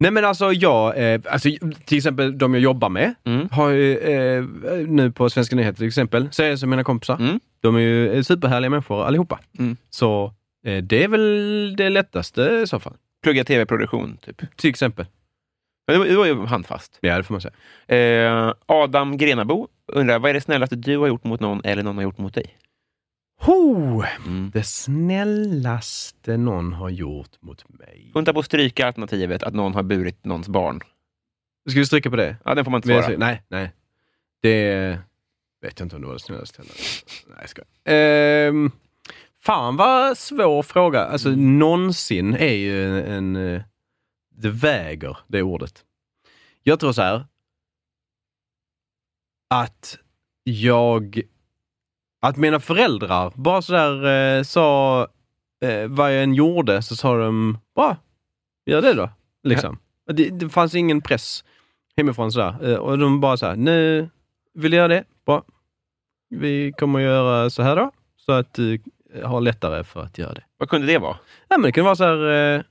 Speaker 3: Nej men alltså jag, eh, alltså, till exempel de jag jobbar med,
Speaker 2: Mm.
Speaker 3: har ju, eh, nu på Svenska nyheter till exempel, så är jag som mina kompisar.
Speaker 2: Mm.
Speaker 3: De är ju eh, superhärliga människor allihopa.
Speaker 2: Mm.
Speaker 3: Så eh, det är väl det lättaste i så fall.
Speaker 2: Plugga tv-produktion, typ.
Speaker 3: Till exempel.
Speaker 2: Men Det var, det var ju handfast.
Speaker 3: Ja, det får man säga.
Speaker 2: Eh, Adam Grenabo undrar, vad är det snällaste du har gjort mot någon eller någon har gjort mot dig?
Speaker 3: Ho!
Speaker 2: Mm.
Speaker 3: Det snällaste någon har gjort mot mig.
Speaker 2: Funta på att stryka alternativet att någon har burit någons barn.
Speaker 3: Ska vi stryka på det?
Speaker 2: Ja, den får man inte
Speaker 3: Men jag
Speaker 2: svara.
Speaker 3: säger- nej, nej. Det vet jag inte om det var det snällaste heller. Nej, jag skojar. Ehm, fan vad svår fråga. Alltså
Speaker 2: Mm.
Speaker 3: någonsin är ju en... eh, Det väger, det ordet. Jag tror så här. Att jag... Att mina föräldrar bara sådär eh, sa eh, vad jag än gjorde så sa de, bra, gör det då. Liksom. Det, det fanns ingen press hemifrån sådär. Eh, Och de bara såhär, nu vill jag göra det, bra. Vi kommer att göra så här då, så att du eh, har lättare för att göra det.
Speaker 2: Vad kunde det vara?
Speaker 3: Nej, men det kan vara såhär, eh,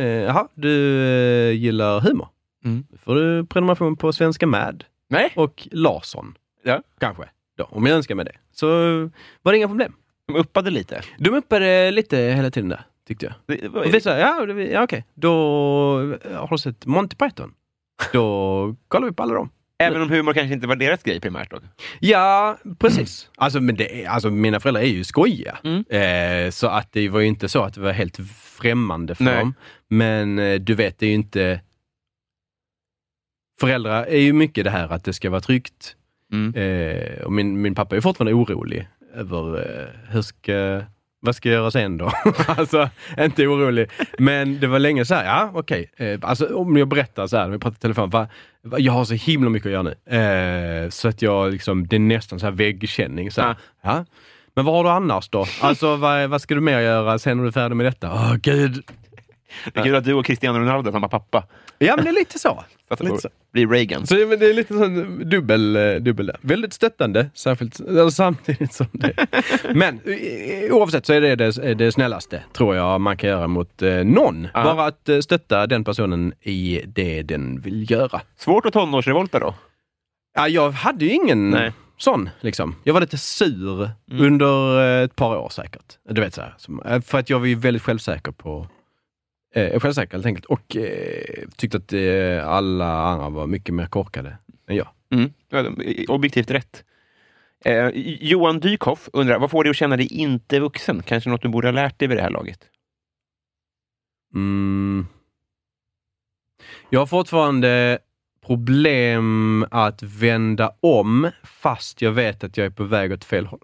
Speaker 3: eh, jaha, du eh, gillar humor.
Speaker 2: Mm.
Speaker 3: Då får du prenumeration på Svenska Mad
Speaker 2: Nej,
Speaker 3: och Larsson.
Speaker 2: Ja.
Speaker 3: Kanske, då, om jag önskar mig det. Så var det inga problem.
Speaker 2: de uppade lite.
Speaker 3: De uppade lite hela tiden där, tyckte jag.
Speaker 2: Det- det var-
Speaker 3: Och vi sa, ja, det- ja okej, då eh, har du sett Monty Python? Då kollar vi på alla dem.
Speaker 2: Även om humor kanske inte var deras grej primärt. Då.
Speaker 3: Ja, precis. Alltså, men det är, alltså mina föräldrar är ju skojiga.
Speaker 2: Mm.
Speaker 3: Eh, så att det var ju inte så att det var helt främmande för
Speaker 2: Nej.
Speaker 3: dem. Men eh, du vet, det är ju inte... Föräldrar är ju mycket det här att det ska vara tryggt.
Speaker 2: Mm.
Speaker 3: Eh, och min, min pappa är fortfarande orolig över eh, hur ska, vad ska jag göra sen då? alltså, inte orolig. Men det var länge så här, ja okej. Eh, alltså om jag berättar så här, när vi pratar i telefon, va, va, jag har så himla mycket att göra nu. Eh, så att jag liksom, det är nästan så här väggkänning. Så här, ja. Men vad har du annars då? Alltså vad, vad ska du mer göra sen när du är färdig med detta? Åh gud.
Speaker 2: Det är kul att du och Cristiano Ronaldo är samma pappa.
Speaker 3: Ja men det är lite så.
Speaker 2: Fattar
Speaker 3: Lite
Speaker 2: du?
Speaker 3: så.
Speaker 2: Blir Reagan.
Speaker 3: Så ja, men det är lite sån dubbel, eh, dubbel där. Väldigt stöttande, särskilt eller samtidigt som det. Men eh, oavsett så är det det, det snällaste, tror jag man kan göra mot eh, någon.
Speaker 2: Ja.
Speaker 3: Bara att eh, stötta den personen i det den vill göra.
Speaker 2: Svårt att tonårsrevolta då?
Speaker 3: Ja, jag hade ju ingen
Speaker 2: Nej. Mm.
Speaker 3: sån, liksom. Jag var lite sur under eh, ett par år säkert. Du vet, så här, som, eh, för att jag var ju väldigt självsäker på Eh, självsäker helt enkelt. Och eh, tyckte att eh, alla andra var mycket mer korkade än jag.
Speaker 2: Mm. du hade Objektivt rätt. Eh, Johan Dykhoff undrar, vad får dig att känna dig inte vuxen? Kanske något du borde ha lärt dig vid det här laget?
Speaker 3: Mm. Jag har fortfarande problem att vända om fast jag vet att jag är på väg åt fel håll.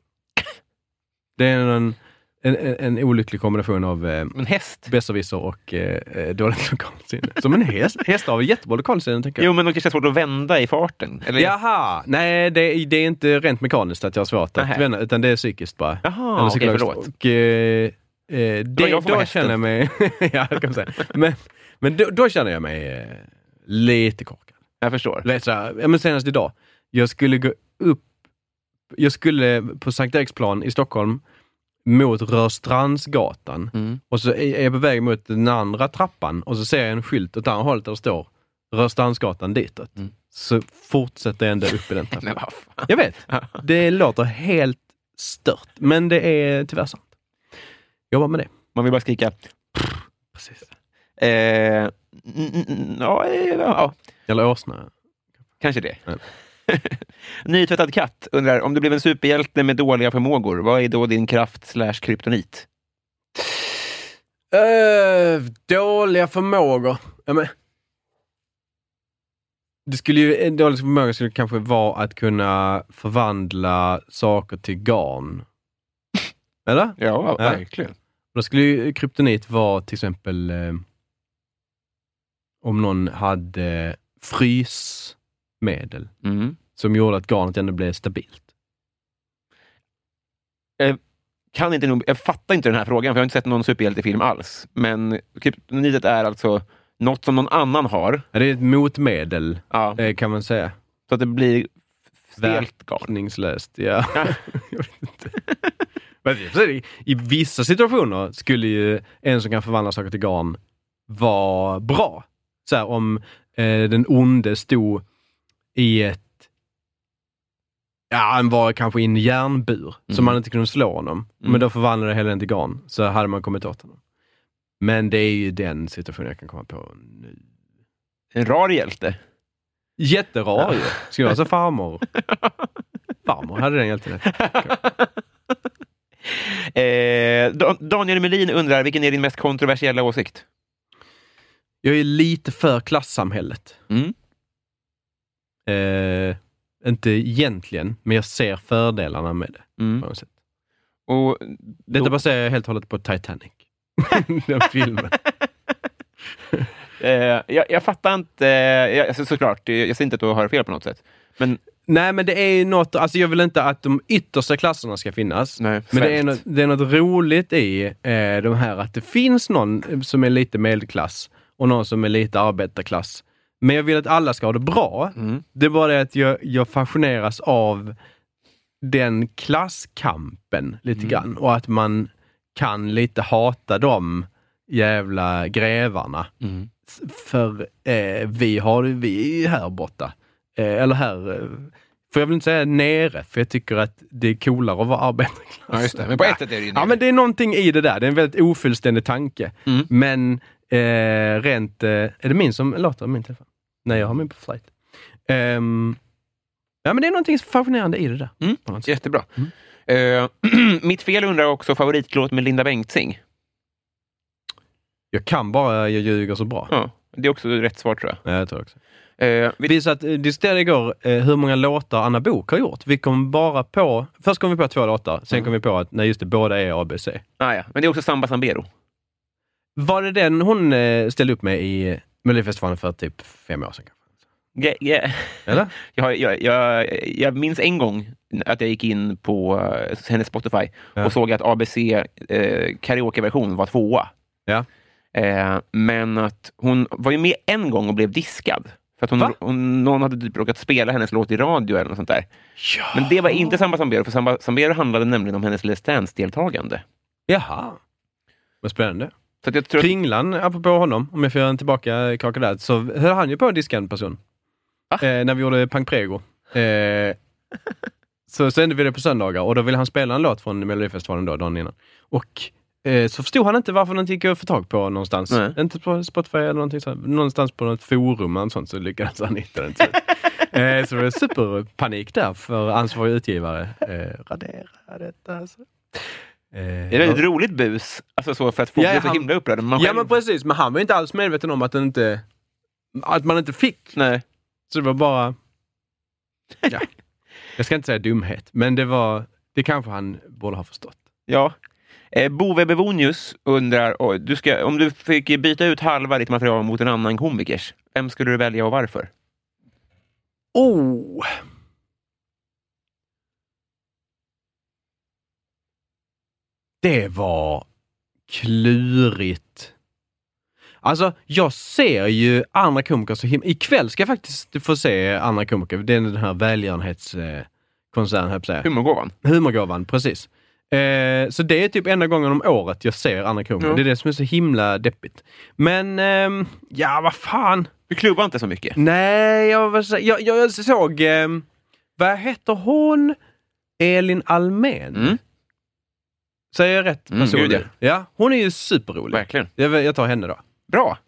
Speaker 3: Det är en, en, en, en olycklig kombination av eh,
Speaker 2: Men häst?
Speaker 3: besserwisser och eh, eh, dåligt lokalsinne. Som en häst. Hästar har jättebra lokalsinne, tänker jag.
Speaker 2: Jo, men det kanske är svårt att vända i farten? Eller?
Speaker 3: Jaha! Nej, det, det är inte rent mekaniskt att jag har svårt att
Speaker 2: Nähä.
Speaker 3: vända, utan det är psykiskt bara.
Speaker 2: Jaha,
Speaker 3: Eller
Speaker 2: okej,
Speaker 3: psykologiskt.
Speaker 2: förlåt.
Speaker 3: Och, eh, eh,
Speaker 2: var
Speaker 3: det,
Speaker 2: jag som var
Speaker 3: då
Speaker 2: hästen.
Speaker 3: känner jag mig... ja, det kan man säga. Men, men då, då känner jag mig eh, lite korkad.
Speaker 2: Jag förstår.
Speaker 3: Lite så här, ja, men senast idag, jag skulle gå upp... Jag skulle på Sankt Eriksplan i Stockholm mot Rörstrandsgatan
Speaker 2: Mm.
Speaker 3: och så är är jag på väg mot den andra trappan och så ser jag en skylt åt andra hållet där det står Rörstrandsgatan ditåt. Så fortsätter jag ända upp i den trappan.
Speaker 2: Men Mm. vad fan.
Speaker 3: Jag vet. Det låter helt stört, men det är tyvärr sant. Jobba med det.
Speaker 2: Man vill bara skrika.
Speaker 3: Precis.
Speaker 2: Eh, n- n- n- ja, eh, ja,
Speaker 3: Eller åsna.
Speaker 2: kanske det.
Speaker 3: Mm.
Speaker 2: Nytvättad katt undrar, om du blev en superhjälte med dåliga förmågor, vad är då din kraft slash kryptonit?
Speaker 3: Uh, dåliga förmågor. Ja, men. Det skulle ju, en dålig förmåga skulle kanske vara att kunna förvandla saker till garn. Eller?
Speaker 2: Ja,
Speaker 3: Ja.
Speaker 2: verkligen.
Speaker 3: Då skulle ju kryptonit vara till exempel eh, om någon hade frysmedel
Speaker 2: Mm.
Speaker 3: som gjorde att garnet ändå blev stabilt.
Speaker 2: Kan inte nog, jag fattar inte den här frågan, för jag har inte sett någon superhjältefilm alls. Men kryptonitet är alltså något som någon annan har,
Speaker 3: Ja, Det är ett motmedel,
Speaker 2: ja,
Speaker 3: eh, kan man säga.
Speaker 2: så att det blir stelt garn.
Speaker 3: Verkningslöst, ja. Jag vet inte. Men i och för sig, I vissa situationer skulle ju en som kan förvandla saker till garn vara bra. Så här, om eh, den onde stod i ett... Ja, han var kanske i en järnbur, så
Speaker 2: Mm.
Speaker 3: man inte kunde slå honom. Men då förvandlade det hela till garn, så hade man kommit åt honom. Men det är ju den situationen jag kan komma på nu.
Speaker 2: En rar hjälte.
Speaker 3: Jätterar ju. Skulle vara så farmor. Farmor hade den hjälten.
Speaker 2: Eh, Da- Daniel Melin undrar, vilken är din mest kontroversiella åsikt?
Speaker 3: Jag är lite för klassamhället.
Speaker 2: Mm.
Speaker 3: Eh, inte egentligen, men jag ser fördelarna med det. På något sätt.
Speaker 2: Mm. Och
Speaker 3: Detta
Speaker 2: då-
Speaker 3: baserar jag helt och hållet på Titanic. Den filmen.
Speaker 2: Eh, jag, jag fattar inte, eh, jag, alltså, såklart, eh, jag ser inte att du har fel på något sätt. Men
Speaker 3: Nej, men det är ju något, alltså jag vill inte att de yttersta klasserna ska finnas.
Speaker 2: Nej,
Speaker 3: men det är,
Speaker 2: svält.
Speaker 3: något, det är något roligt i eh, de här att det finns någon som är lite medelklass och någon som är lite arbetarklass. Men jag vill att alla ska ha det bra. Det är bara det att jag, jag fascineras av den klasskampen lite grann och att man kan lite hata de jävla grävarna.
Speaker 2: Mm.
Speaker 3: S- För eh, vi, har, vi är ju här borta. Eh, eller här, eh, för jag vill inte säga nere, för jag tycker att det är coolare att vara arbetarklass.
Speaker 2: Ja, just det. Men på ett sätt är det ju
Speaker 3: Ja,
Speaker 2: nere. Mm.
Speaker 3: men det är någonting i det där. Det är en väldigt ofullständig tanke. Men eh, rent... Eh, är det min som låter? Min telefon? Nej, jag har min på flight. Ehm, ja, men det är någonting fascinerande i det där.
Speaker 2: Mm,
Speaker 3: på något sätt.
Speaker 2: jättebra. Eh, mitt fel undrar också favoritlåt med Linda Bengtzing.
Speaker 3: Jag kan bara, jag ljuger så bra.
Speaker 2: Ja, det är också rätt svar tror jag.
Speaker 3: Ja, jag tror också.
Speaker 2: Eh,
Speaker 3: Vi
Speaker 2: vi,
Speaker 3: diskuterade eh, diskuterade igår eh, hur många låtar Anna Bok har gjort. Vi kom bara på... Först kom vi på två låtar, sen kom vi på att nej, just det, båda är ABC.
Speaker 2: ah, ja. Men det är också Samba Sambero.
Speaker 3: Var det den hon eh, ställde upp med i Melodifestivalen för typ fem år sedan? kanske?
Speaker 2: Yeah, yeah.
Speaker 3: Eller?
Speaker 2: Jag, har- jag, jag, jag minns en gång att jag gick in på eh, hennes Spotify
Speaker 3: Ja.
Speaker 2: och såg att ABC eh, karaokeversion var tvåa.
Speaker 3: Ja.
Speaker 2: Eh, men att hon var ju med en gång och blev diskad. För att
Speaker 3: Va?
Speaker 2: hon, hon, någon hade typ råkat spela hennes låt i radio eller något sånt där. Men
Speaker 3: Ah.
Speaker 2: det var inte Samba Sambero, för Samba Sambero handlade nämligen om hennes Let's Dance-deltagande.
Speaker 3: Jaha. Vad spännande.
Speaker 2: Så att jag tror att,
Speaker 3: Kringlan, apropå honom, om jag får göra en tillbaka kaka där, så höll han ju på att diska en person.
Speaker 2: Va?
Speaker 3: Eh, när vi gjorde Pang Prego. Eh, så sände vi det på söndagar och då ville han spela en låt från Melodifestivalen då, dagen innan. Och eh, så förstod han inte varför den gick att få tag på någonstans.
Speaker 2: Nej.
Speaker 3: Inte på Spotify eller någonting sånt. Någonstans på något forum eller sånt så lyckades han hitta den. till slut. eh, så det var superpanik där för ansvarig utgivare. Eh, radera detta. Alltså. Eh,
Speaker 2: det är väldigt roligt bus, alltså så för att folk
Speaker 3: Ja,
Speaker 2: blir så
Speaker 3: han-
Speaker 2: himla upprörda. men man
Speaker 3: Ja
Speaker 2: själv-
Speaker 3: men precis, men han var ju inte alls medveten om att, den inte, att man inte fick.
Speaker 2: Nej.
Speaker 3: Så det var bara... Ja. Jag ska inte säga dumhet, men det var... Det kanske han borde ha förstått.
Speaker 2: Ja. Eh, Bove Bevonius undrar, oj, du ska, om du fick byta ut halva ditt material mot en annan komikers, vem skulle du välja och varför?
Speaker 3: Oh! Det var klurigt. Alltså, jag ser ju andra komiker så himla... Ikväll ska jag faktiskt få se andra komiker. Det är den här välgörenhetskonserten, höll jag på att säga.
Speaker 2: Humorgåvan?
Speaker 3: Humorgåvan, precis. Eh, så det är typ enda gången om året jag ser Anna Kronman.
Speaker 2: Ja.
Speaker 3: Det är det som är så himla deppigt. Men, ehm, ja vad fan.
Speaker 2: Du klubbar inte så
Speaker 3: Mm.
Speaker 2: mycket.
Speaker 3: Nej, jag, var så- jag, jag, jag såg, ehm, vad heter hon? Elin Almen.
Speaker 2: Mm.
Speaker 3: Säger jag rätt
Speaker 2: Mm,
Speaker 3: person
Speaker 2: gud, ja.
Speaker 3: nu? ja. Hon är ju superrolig.
Speaker 2: Verkligen.
Speaker 3: Jag, jag tar henne då.
Speaker 2: Bra.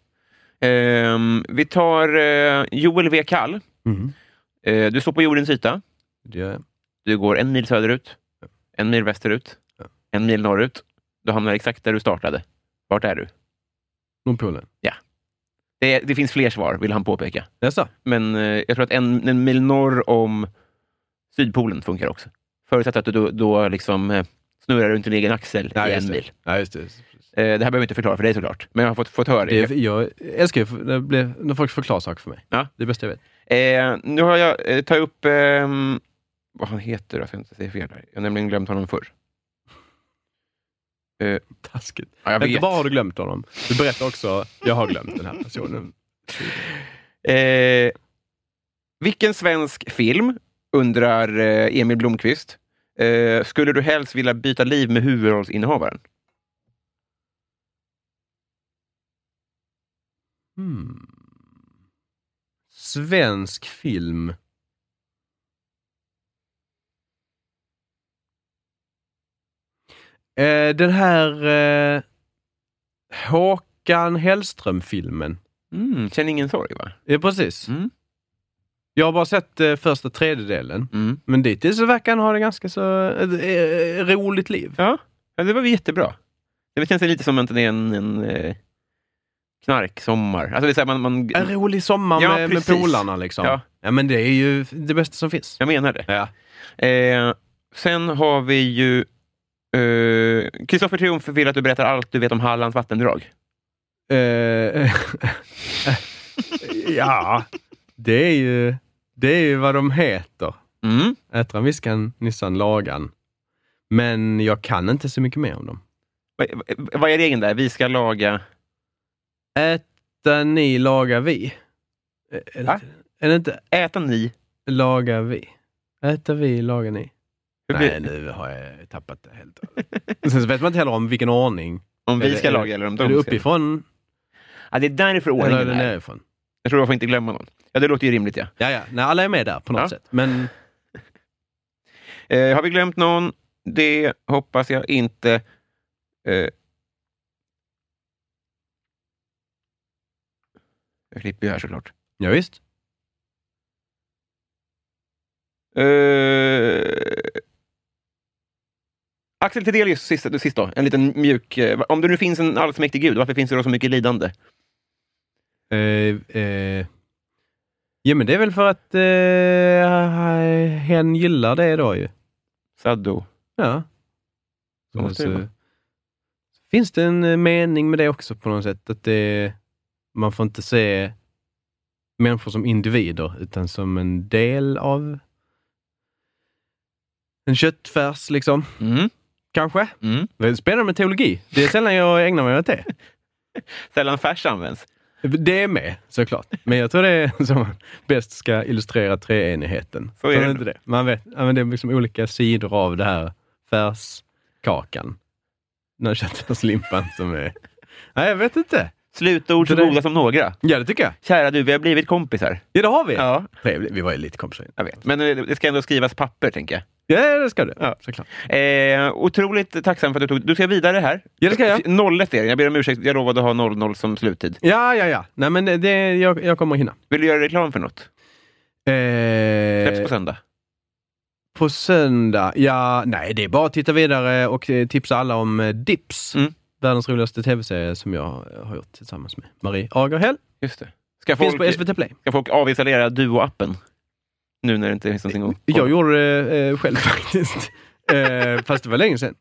Speaker 2: Ehm, vi tar eh, Joel V. Kall. Eh, du står på jordens yta.
Speaker 3: Det gör jag.
Speaker 2: Du går en mil söderut, en mil västerut,
Speaker 3: Ja.
Speaker 2: en mil norrut. Du hamnar exakt där du startade. Vart är du?
Speaker 3: Nordpolen.
Speaker 2: Det, det finns fler svar, vill han påpeka.
Speaker 3: Jaså?
Speaker 2: Men eh, jag tror att en, en mil norr om Sydpolen funkar också. Förutsatt att du då, då liksom eh, snurrar runt din egen axel i en
Speaker 3: det.
Speaker 2: mil.
Speaker 3: Ja, just det.
Speaker 2: Eh, det här behöver jag inte förklara för dig såklart, men jag har fått, fått höra
Speaker 3: det
Speaker 2: det.
Speaker 3: är, jag älskar ju när det blir- när folk förklarar saker för mig.
Speaker 2: Ja.
Speaker 3: Det är det bästa jag vet.
Speaker 2: Eh, nu har jag eh, tagit upp ehm, vad han heter, jag ska inte säga fel. Här. Jag har nämligen glömt honom förr.
Speaker 3: Taskigt.
Speaker 2: Ja, jag
Speaker 3: Inte
Speaker 2: vet.
Speaker 3: bara har du glömt honom, du berättar också jag har glömt den här personen.
Speaker 2: Eh, vilken svensk film, undrar eh, Emil Blomqvist, eh, skulle du helst vilja byta liv med huvudrollsinnehavaren?
Speaker 3: Hmm. Svensk film. Eh, den här eh, Håkan Hellström-filmen.
Speaker 2: Mm, känn ingen sorg, va?
Speaker 3: Ja, precis.
Speaker 2: Mm.
Speaker 3: Jag har bara sett eh, första tredjedelen,
Speaker 2: Mm.
Speaker 3: men dittills så verkar han ha det ganska så eh, eh, roligt liv.
Speaker 2: Ja. Ja, det var väl jättebra. Det känns lite som att det är en, en eh, knarksommar. Alltså det är så här, man, man,
Speaker 3: En rolig sommar
Speaker 2: Ja,
Speaker 3: med, med
Speaker 2: precis.
Speaker 3: polarna liksom.
Speaker 2: Ja.
Speaker 3: Ja. men det är ju det bästa som finns.
Speaker 2: jag menar det.
Speaker 3: Ja.
Speaker 2: Eh, sen har vi ju... eh, Kristoffer Triumf vill att du berättar allt du vet om Hallands vattendrag.
Speaker 3: Eh, ja, det är ju det är ju vad de heter.
Speaker 2: Mm.
Speaker 3: Ätran, Viskan, Nissan, Lagan. Men jag kan inte så mycket mer om dem.
Speaker 2: Vad, vad är regeln där? Vi ska laga...
Speaker 3: Äta, ni, laga, vi. Eh, Är det,
Speaker 2: Va?
Speaker 3: inte, är det inte
Speaker 2: Äta ni.
Speaker 3: laga, vi? Äta, vi, laga, ni.
Speaker 2: Hur blir-
Speaker 3: Nej, nu har jag tappat det helt. Sen så vet man inte heller om vilken ordning.
Speaker 2: Om vi
Speaker 3: Eller-
Speaker 2: ska
Speaker 3: eller-
Speaker 2: laga eller om
Speaker 3: är det
Speaker 2: de ska.
Speaker 3: uppifrån
Speaker 2: Ja, det är därför
Speaker 3: eller är
Speaker 2: ordningen
Speaker 3: det
Speaker 2: är.
Speaker 3: nerifrån?
Speaker 2: Jag tror jag får inte glömma någon. Ja, det låter ju rimligt. Ja.
Speaker 3: Ja, ja. Nej, alla är med där på något
Speaker 2: Ja.
Speaker 3: sätt. Men
Speaker 2: Eh, har vi glömt någon? Det hoppas jag inte. Eh. Jag klipper ju här såklart.
Speaker 3: ja, visst.
Speaker 2: Eh, Axel Tedelius, sist, sist då. En liten mjuk... Eh, om det nu finns en allsmäktig gud, varför finns det då så mycket lidande?
Speaker 3: Eh, eh, ja, men det är väl för att eh, hen gillar det då ju.
Speaker 2: Saddo.
Speaker 3: Ja.
Speaker 2: Så måste det vara.
Speaker 3: finns det en eh, mening med det också på något sätt. Att det, man får inte se människor som individer, utan som en del av en köttfärs, liksom.
Speaker 2: Mm.
Speaker 3: Kanske.
Speaker 2: Mm.
Speaker 3: Det är Spännande med teologi. Det är sällan jag ägnar mig åt det.
Speaker 2: Sällan färs används.
Speaker 3: Det är med, såklart. Men jag tror det är som bäst ska illustrera treenigheten.
Speaker 2: Så är det
Speaker 3: Tror du
Speaker 2: nog.
Speaker 3: inte det. Man vet, ja, men det är liksom olika sidor av det här färskakan. Den här köttfärslimpan som är... Nej, jag vet inte.
Speaker 2: Slutord så
Speaker 3: Det där-
Speaker 2: goda som några.
Speaker 3: Ja, det tycker jag.
Speaker 2: Kära du, vi har blivit kompisar.
Speaker 3: Ja, det har vi.
Speaker 2: Ja,
Speaker 3: Trevligt. Vi var ju lite kompisar.
Speaker 2: jag vet. Men eh, det ska ändå skrivas papper, tänker jag.
Speaker 3: Ja, det ska du.
Speaker 2: Ja.
Speaker 3: Såklart.
Speaker 2: Eh, otroligt tacksam för att du tog... Du ska vidare här.
Speaker 3: Ja, det ska jag.
Speaker 2: 01 är det. Jag ber om ursäkt. Jag lovade att ha 00 som sluttid.
Speaker 3: Ja, ja, ja. Nej, men det- det, jag, jag kommer att hinna.
Speaker 2: Vill du göra reklam för något? Släpps på
Speaker 3: Eh,
Speaker 2: söndag.
Speaker 3: på söndag? Ja, nej, det är bara att titta vidare och eh, tipsa alla om eh, Dips.
Speaker 2: Mm.
Speaker 3: Världens roligaste tv-serie som jag eh, har gjort tillsammans med Marie Agerhäll.
Speaker 2: Just det. Ska
Speaker 3: Finns
Speaker 2: folk,
Speaker 3: på SVT Play.
Speaker 2: ska folk avinstallera Duo-appen? Nu när det inte finns någonting att...
Speaker 3: Jag gjorde det eh, själv faktiskt. eh, fast det var länge sedan.